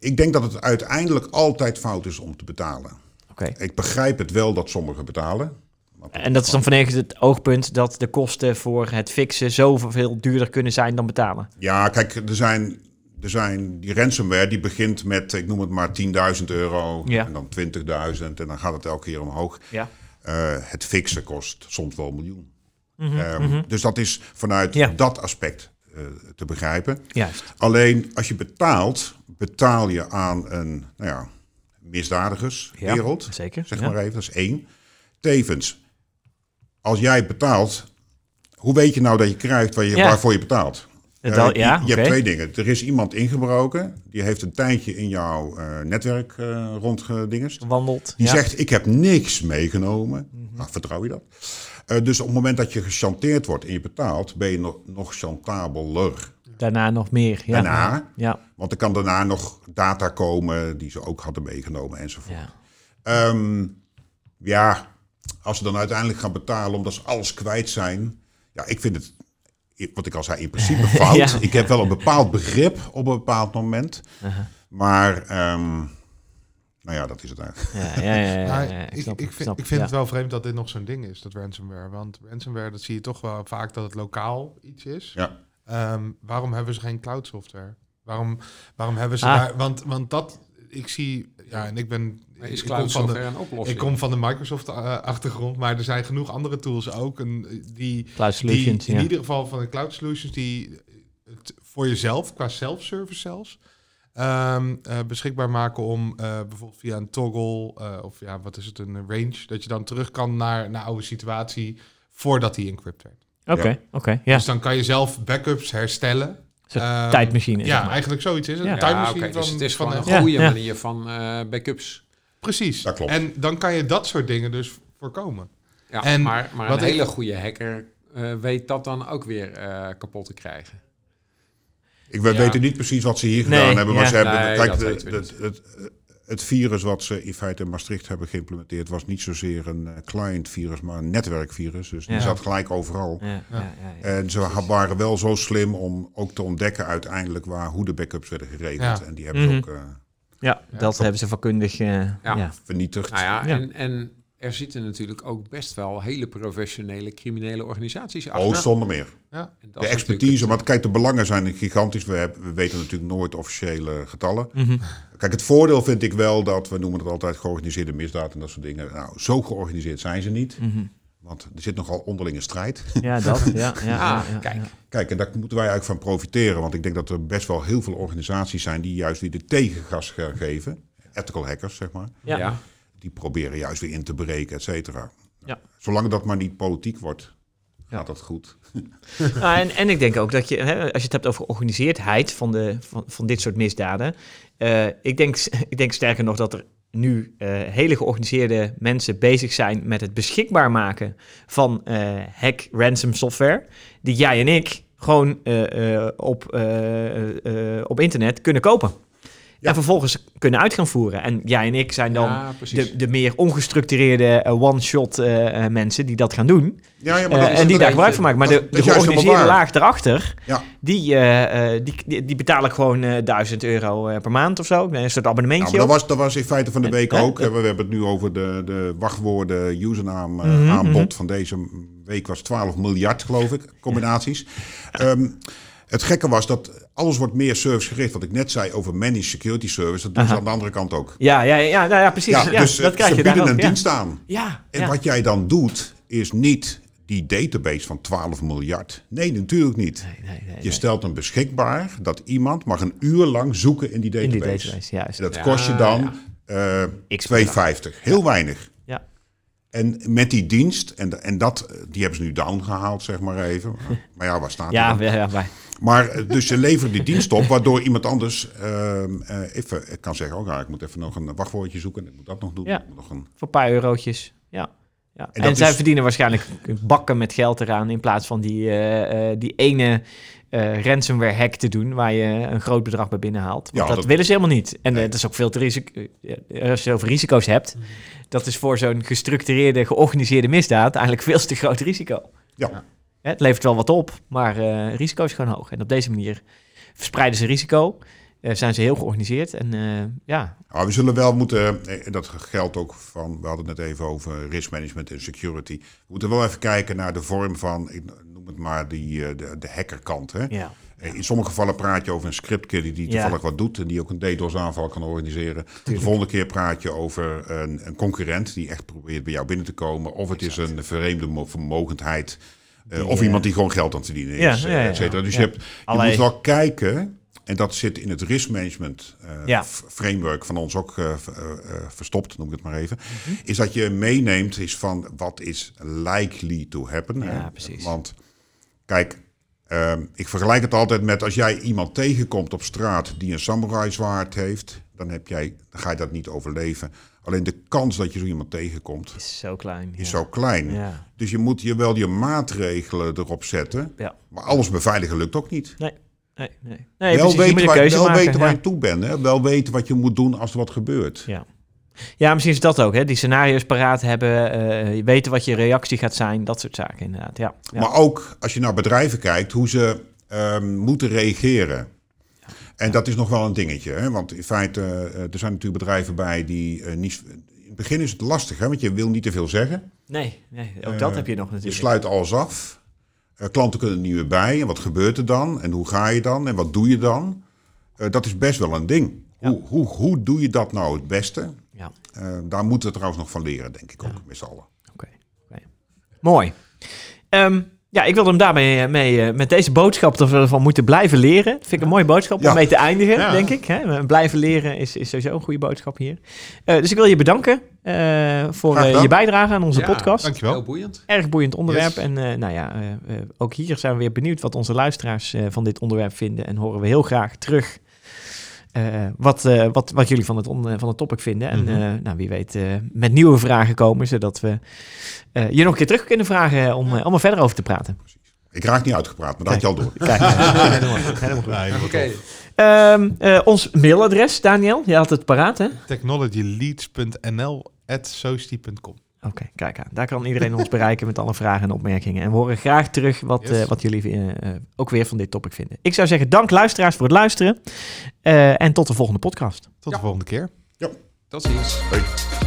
Speaker 4: ik denk dat het uiteindelijk altijd fout is om te betalen.
Speaker 1: Oké.
Speaker 4: Ik begrijp het wel dat sommigen betalen. maar-
Speaker 1: En dat is dan vanwege het oogpunt dat de kosten voor het fixen zoveel duurder kunnen zijn dan betalen.
Speaker 4: Ja, kijk, er zijn, er zijn die ransomware die begint met, ik noem het maar 10.000 euro
Speaker 1: Ja.
Speaker 4: en dan 20.000 en dan gaat het elke keer omhoog.
Speaker 1: Ja.
Speaker 4: Eh, het fixen kost soms wel een miljoen. Ehm, Dus dat is vanuit
Speaker 1: Mhm, Ja.
Speaker 4: dat aspect eh, te begrijpen.
Speaker 1: Juist.
Speaker 4: Alleen als je betaalt, betaal je aan een nou ja, misdadigerswereld.
Speaker 1: Zeker.
Speaker 4: Zeg
Speaker 1: ja.
Speaker 4: maar even, dat is één. Tevens, als jij betaalt, hoe weet je nou dat je krijgt waar je,
Speaker 1: Ja.
Speaker 4: waarvoor je betaalt?
Speaker 1: Dat-
Speaker 4: Eh, je
Speaker 1: ja,
Speaker 4: je
Speaker 1: oké.
Speaker 4: hebt twee dingen. Er is iemand ingebroken, die heeft een tijdje in jouw eh, netwerk eh rondgedingest.
Speaker 1: Wandelt.
Speaker 4: Die
Speaker 1: ja. Mhm.
Speaker 4: zegt, ik heb niks meegenomen. Nou, vertrouw je dat? Eh, dus op het moment dat je gechanteerd wordt en je betaalt, ben je nog, nog chantabeler.
Speaker 1: Daarna nog meer. Ja.
Speaker 4: Daarna?
Speaker 1: Ja.
Speaker 4: Want er kan daarna nog data komen die ze ook hadden meegenomen enzovoort.
Speaker 1: ja.
Speaker 4: Ehm, ja, als ze dan uiteindelijk gaan betalen omdat ze alles kwijt zijn. Ja, ik vind het, i- wat ik al zei,
Speaker 1: [laughs]
Speaker 4: in principe fout.
Speaker 1: Ja.
Speaker 4: Ik heb wel een bepaald begrip op een bepaald moment.
Speaker 1: Uh-huh.
Speaker 4: Maar, ehm, nou ja, dat is het eigenlijk.
Speaker 1: Ja, ja, ja, ja, ja,
Speaker 3: Maar
Speaker 1: ja,
Speaker 3: Nou, ik,
Speaker 1: snap
Speaker 3: ik
Speaker 1: het,
Speaker 3: vind,
Speaker 1: snap
Speaker 3: ik
Speaker 1: het,
Speaker 3: vind het wel vreemd dat dit nog zo'n ding is, dat ransomware. Want ransomware, dat zie je toch wel vaak dat het lokaal iets is.
Speaker 4: Ja.
Speaker 3: Ehm, waarom hebben ze geen cloud software? Waarom, waarom hebben ze
Speaker 1: Ah.
Speaker 3: daar... Want, want dat, ik zie... Ja, en ik ben...
Speaker 2: Maar
Speaker 3: ik
Speaker 2: is
Speaker 3: kom
Speaker 2: cloud
Speaker 3: van de-
Speaker 2: software een oplossing?
Speaker 3: Ik kom van de Microsoft-achtergrond, maar er zijn genoeg andere tools ook. En die,
Speaker 1: ja. Cloud
Speaker 3: die
Speaker 1: Solutions,
Speaker 3: in
Speaker 1: ja.
Speaker 3: ieder geval van de cloud solutions die het voor jezelf, qua self-service zelfs, ehm, eh, beschikbaar maken om eh, bijvoorbeeld via een toggle eh, of ja, wat is het, een range, dat je dan terug kan naar, naar oude situatie voordat die encrypt werd.
Speaker 1: Oké,
Speaker 4: Ja.
Speaker 1: oké. Ja,
Speaker 3: Dus dan kan je zelf backups herstellen.
Speaker 1: Zo'n
Speaker 3: Ehm,
Speaker 1: tijdmachine,
Speaker 3: Ja,
Speaker 1: zeg maar.
Speaker 3: eigenlijk zoiets is het.
Speaker 1: Ja.
Speaker 3: Een
Speaker 2: ja,
Speaker 3: tijdmachine
Speaker 2: oké, dus
Speaker 3: van-
Speaker 2: het is
Speaker 3: van
Speaker 2: gewoon
Speaker 3: een-
Speaker 2: een
Speaker 1: Ja,
Speaker 2: goede
Speaker 1: ja.
Speaker 2: manier van eh, backups.
Speaker 3: Precies.
Speaker 4: Dat klopt.
Speaker 3: En dan kan je dat soort dingen dus voorkomen.
Speaker 2: Ja,
Speaker 3: En
Speaker 2: maar maar
Speaker 3: wat
Speaker 2: een
Speaker 3: ik-
Speaker 2: hele goede hacker eh, weet dat dan ook weer eh, kapot te krijgen.
Speaker 4: Ik we
Speaker 2: Ja.
Speaker 4: weten niet precies wat ze hier
Speaker 1: Nee,
Speaker 4: gedaan hebben. Maar
Speaker 1: ja.
Speaker 4: ze hebben,
Speaker 2: Nee,
Speaker 4: kijk,
Speaker 2: dat
Speaker 4: de-
Speaker 2: weten we
Speaker 4: de- het, het virus wat ze in feite in Maastricht hebben geïmplementeerd... was niet zozeer een eh, client-virus, maar een netwerkvirus. Dus die
Speaker 1: Ja.
Speaker 4: zat gelijk overal.
Speaker 1: Ja, ja, ja, ja.
Speaker 4: En ze ha- waren wel zo slim om ook te ontdekken uiteindelijk waar, hoe de backups werden geregeld.
Speaker 3: Ja.
Speaker 4: En die hebben ze
Speaker 1: Mhm.
Speaker 4: ook eh,
Speaker 1: Ja, dat hebben ze vakkundig... eh, ja.
Speaker 4: vernietigd.
Speaker 2: Nou ja,
Speaker 1: Ja.
Speaker 2: En, en er zitten natuurlijk ook best wel hele professionele criminele organisaties achter.
Speaker 4: Oh, zonder meer.
Speaker 2: En dat
Speaker 4: De
Speaker 2: is
Speaker 4: expertise, want kijk, de belangen zijn gigantisch. We, hebben, we weten natuurlijk nooit officiële getallen. Kijk, het voordeel vind
Speaker 1: Mhm.
Speaker 4: ik wel dat, we noemen het altijd georganiseerde misdaad en dat soort dingen. Nou, zo georganiseerd zijn ze niet. Want er zit nogal onderlinge strijd.
Speaker 5: Ja, dat. Ja, ja, ja,
Speaker 2: Ah,
Speaker 5: ja,
Speaker 2: kijk.
Speaker 5: ja.
Speaker 4: Kijk, en daar moeten wij eigenlijk van profiteren. Want ik denk dat er best wel heel veel organisaties zijn die juist weer de tegengas eh, geven. Ethical hackers, zeg maar.
Speaker 5: Ja.
Speaker 2: ja.
Speaker 4: Die proberen juist weer in te breken, et cetera.
Speaker 5: Ja.
Speaker 4: Zolang dat maar niet politiek wordt,
Speaker 5: Ja.
Speaker 4: gaat dat goed.
Speaker 1: Nou, en, en ik denk ook dat je, hè, als je het hebt over georganiseerdheid van, de, van, van dit soort misdaden. eh, ik, denk, [laughs] ik denk sterker nog dat er nu eh, hele georganiseerde mensen bezig zijn met het beschikbaar maken van eh, hack ransom software. Die jij en ik gewoon eh, eh, op, eh, eh, op internet kunnen kopen.
Speaker 4: Ja.
Speaker 1: En vervolgens kunnen uit gaan voeren. En jij en ik zijn dan
Speaker 2: Ja, precies.
Speaker 1: de, de meer ongestructureerde eh, one-shot eh, eh, mensen die dat gaan doen.
Speaker 4: Ja, ja,
Speaker 1: Eh,
Speaker 4: dat is
Speaker 1: en die daar
Speaker 4: inderdaad-
Speaker 1: gebruik van maken. Maar
Speaker 4: dat-
Speaker 1: de,
Speaker 4: dat
Speaker 1: de
Speaker 4: is juist helemaal
Speaker 1: georganiseerde
Speaker 4: waar.
Speaker 1: laag daarachter,
Speaker 4: Ja.
Speaker 1: die, eh, eh, die, die, die betalen gewoon eh 1000 euro eh, per maand of zo. Een soort
Speaker 4: Nou,
Speaker 1: abonnementje.
Speaker 4: maar dat,
Speaker 1: op.
Speaker 4: was, dat was in feite van de week
Speaker 1: Eh, eh,
Speaker 4: ook. hè. We hebben het nu over de, de wachtwoorden, username eh,
Speaker 1: Mhm,
Speaker 4: aanbod
Speaker 1: mhm.
Speaker 4: van deze week was 12 miljard, geloof ik, combinaties. Ehm, het gekke was dat alles wordt meer servicegericht. Wat ik net zei over managed security service, dat doen ze
Speaker 1: Aha.
Speaker 4: aan de andere kant ook.
Speaker 1: Ja, ja, ja, nou ja, precies. Ja,
Speaker 4: dus
Speaker 1: dat
Speaker 4: eh,
Speaker 1: krijg
Speaker 4: ze
Speaker 1: je daar
Speaker 4: bieden
Speaker 1: ook.
Speaker 4: een
Speaker 1: Ja,
Speaker 4: dienst aan.
Speaker 1: ja,
Speaker 4: En
Speaker 1: ja.
Speaker 4: wat jij dan doet, is niet die database van 12 miljard. Nee, natuurlijk niet.
Speaker 1: Nee, nee,
Speaker 4: Je
Speaker 1: nee.
Speaker 4: stelt hem beschikbaar dat iemand mag een uur lang zoeken in die
Speaker 1: In
Speaker 4: database.
Speaker 1: die database, juist.
Speaker 4: En dat
Speaker 2: Ja,
Speaker 4: kost je dan eh,
Speaker 1: X
Speaker 4: 2,50. Heel weinig.
Speaker 1: Ja.
Speaker 4: En met die dienst, en, en dat, eh, die hebben ze nu downgehaald, zeg maar even.
Speaker 1: [laughs]
Speaker 4: Maar ja, waar staat die
Speaker 1: Ja,
Speaker 4: dan?
Speaker 1: ja, ja, maar-
Speaker 4: Maar eh, dus je levert die dienst op, waardoor iemand anders ehm, eh, even ik kan zeggen: oh, ja, ik moet even nog een wachtwoordje zoeken. Ik moet dat nog doen.
Speaker 1: Ja.
Speaker 4: Ik moet nog een,
Speaker 1: voor een paar eurotjes. Ja. Ja. En,
Speaker 4: dat
Speaker 1: zij
Speaker 4: is-
Speaker 1: verdienen waarschijnlijk bakken met geld eraan in plaats van die, eh, eh, die ene eh, ransomware hack te doen waar je een groot bedrag bij binnenhaalt. Want
Speaker 4: Ja,
Speaker 1: dat,
Speaker 4: dat-
Speaker 1: willen ze helemaal niet. En eh,
Speaker 4: Nee.
Speaker 1: dat is ook veel te risico. eh, Als je het over risico's hebt, dat is voor zo'n gestructureerde, georganiseerde misdaad eigenlijk veel te groot risico.
Speaker 4: Ja.
Speaker 1: Hè, Het levert wel wat op, maar eh risico is gewoon hoog. En op deze manier verspreiden ze risico, eh, zijn ze heel georganiseerd en eh, ja,
Speaker 4: Ah, we zullen wel moeten, eh, en dat geldt ook van, we hadden het net even over risk management en security. We moeten wel even kijken naar de vorm van, ik noem het maar die, eh, de, de hackerkant. Hè?
Speaker 1: ja.
Speaker 4: Eh, In sommige gevallen praat je over een scriptkiller die
Speaker 1: Ja.
Speaker 4: toevallig wat doet en die ook een DDoS-aanval kan organiseren. De volgende keer praat je over een, een concurrent die echt probeert bij jou binnen te komen. Of het is een vreemde mo- vermogendheid. eh,
Speaker 1: Die,
Speaker 4: of
Speaker 1: eh,
Speaker 4: iemand die gewoon geld aan het verdienen
Speaker 1: Ja,
Speaker 4: is, eh,
Speaker 1: ja, ja,
Speaker 4: et cetera. Dus
Speaker 1: ja.
Speaker 4: je, hebt, je
Speaker 1: Allee.
Speaker 4: moet wel kijken, en dat zit in het risk management eh,
Speaker 1: Ja.
Speaker 4: f- framework van ons ook eh, v- eh, eh, verstopt, noem ik het maar even.
Speaker 1: Mhm.
Speaker 4: Is dat je meeneemt is van wat is likely to happen.
Speaker 1: Ja,
Speaker 4: hè?
Speaker 1: precies.
Speaker 4: Want kijk, ehm, ik vergelijk het altijd met als jij iemand tegenkomt op straat die een samurai zwaard heeft, dan, heb jij, dan ga je dat niet overleven. Alleen de kans dat je zo iemand tegenkomt
Speaker 1: is zo klein.
Speaker 4: is
Speaker 1: ja.
Speaker 4: zo klein.
Speaker 1: Ja.
Speaker 4: Dus je moet je wel je maatregelen erop zetten.
Speaker 1: Ja.
Speaker 4: Maar alles beveiligen lukt ook niet.
Speaker 1: Nee, nee. nee
Speaker 4: wel
Speaker 1: precies, je moet
Speaker 4: weten,
Speaker 1: een
Speaker 4: waar,
Speaker 1: keuze
Speaker 4: wel
Speaker 1: maken.
Speaker 4: weten waar
Speaker 1: ja.
Speaker 4: je toe bent. Hè? Wel weten wat je moet doen als er wat gebeurt.
Speaker 1: Ja. Ja, misschien is dat ook, hè? Die scenario's paraat hebben, eh, weten wat je reactie gaat zijn, dat soort zaken inderdaad. Ja, ja.
Speaker 4: Maar ook als je naar bedrijven kijkt, hoe ze ehm, moeten reageren. En dat is nog wel een dingetje. Hè? Want in feite, eh, er zijn natuurlijk bedrijven bij die eh, niet... In het begin is het lastig, hè? want je wil niet te veel zeggen.
Speaker 1: Nee, nee, ook
Speaker 4: Eh,
Speaker 1: dat heb je nog
Speaker 4: Je
Speaker 1: natuurlijk.
Speaker 4: sluit alles af. Eh, klanten kunnen er niet meer bij. En wat gebeurt er dan? En hoe ga je dan? En wat doe je dan? Eh, dat is best wel een ding.
Speaker 1: Ja.
Speaker 4: Hoe, hoe, hoe doe je dat nou het beste?
Speaker 1: Ja,
Speaker 4: Eh, daar moeten we trouwens nog van leren, denk ik ook, met z'n allen.
Speaker 1: oké. oké. Mooi. Ehm, ja, ik wilde hem daarmee eh, mee, eh, met deze boodschap dat we ervan moeten blijven leren. Vind ik een mooie boodschap om
Speaker 4: Ja.
Speaker 1: mee te eindigen,
Speaker 4: Ja.
Speaker 1: denk ik. Hè? Eh, Blijven leren is, is sowieso een goede boodschap hier. Eh, dus ik wil je bedanken eh, voor
Speaker 4: Graag
Speaker 1: eh,
Speaker 4: gedaan.
Speaker 1: je bijdrage aan onze
Speaker 2: Ja,
Speaker 1: podcast.
Speaker 3: Dankjewel.
Speaker 2: Heel boeiend.
Speaker 1: Erg boeiend onderwerp.
Speaker 3: Yes.
Speaker 1: En eh, nou ja, eh, eh, ook hier zijn we weer benieuwd wat onze luisteraars eh, van dit onderwerp vinden. En horen we heel graag terug eh, wat, eh, wat, wat jullie van het, on- eh, van het topic vinden. En
Speaker 3: Mhm.
Speaker 1: eh, nou, wie weet eh, met nieuwe vragen komen, zodat we eh, je nog een keer terug kunnen vragen om, eh, om er verder over te praten.
Speaker 4: Ik raak niet uitgepraat, maar dat had je al door.
Speaker 1: Kijk, helemaal goed, helemaal goed.
Speaker 3: Nee,
Speaker 2: Oké.
Speaker 1: Ehm, eh, ons mailadres, Daniel, je had het paraat, hè?
Speaker 3: technologyleads.nl at society.com.
Speaker 1: Oké, kijk aan. Daar kan iedereen ons bereiken met alle vragen en opmerkingen. En we horen graag terug wat,
Speaker 3: Yes.
Speaker 1: eh, wat jullie eh, eh, ook weer van dit topic vinden. Ik zou zeggen, dank luisteraars voor het luisteren. Eh, en tot de volgende podcast.
Speaker 3: Tot
Speaker 2: Ja.
Speaker 3: de volgende keer.
Speaker 2: Tot ziens.
Speaker 4: Hey.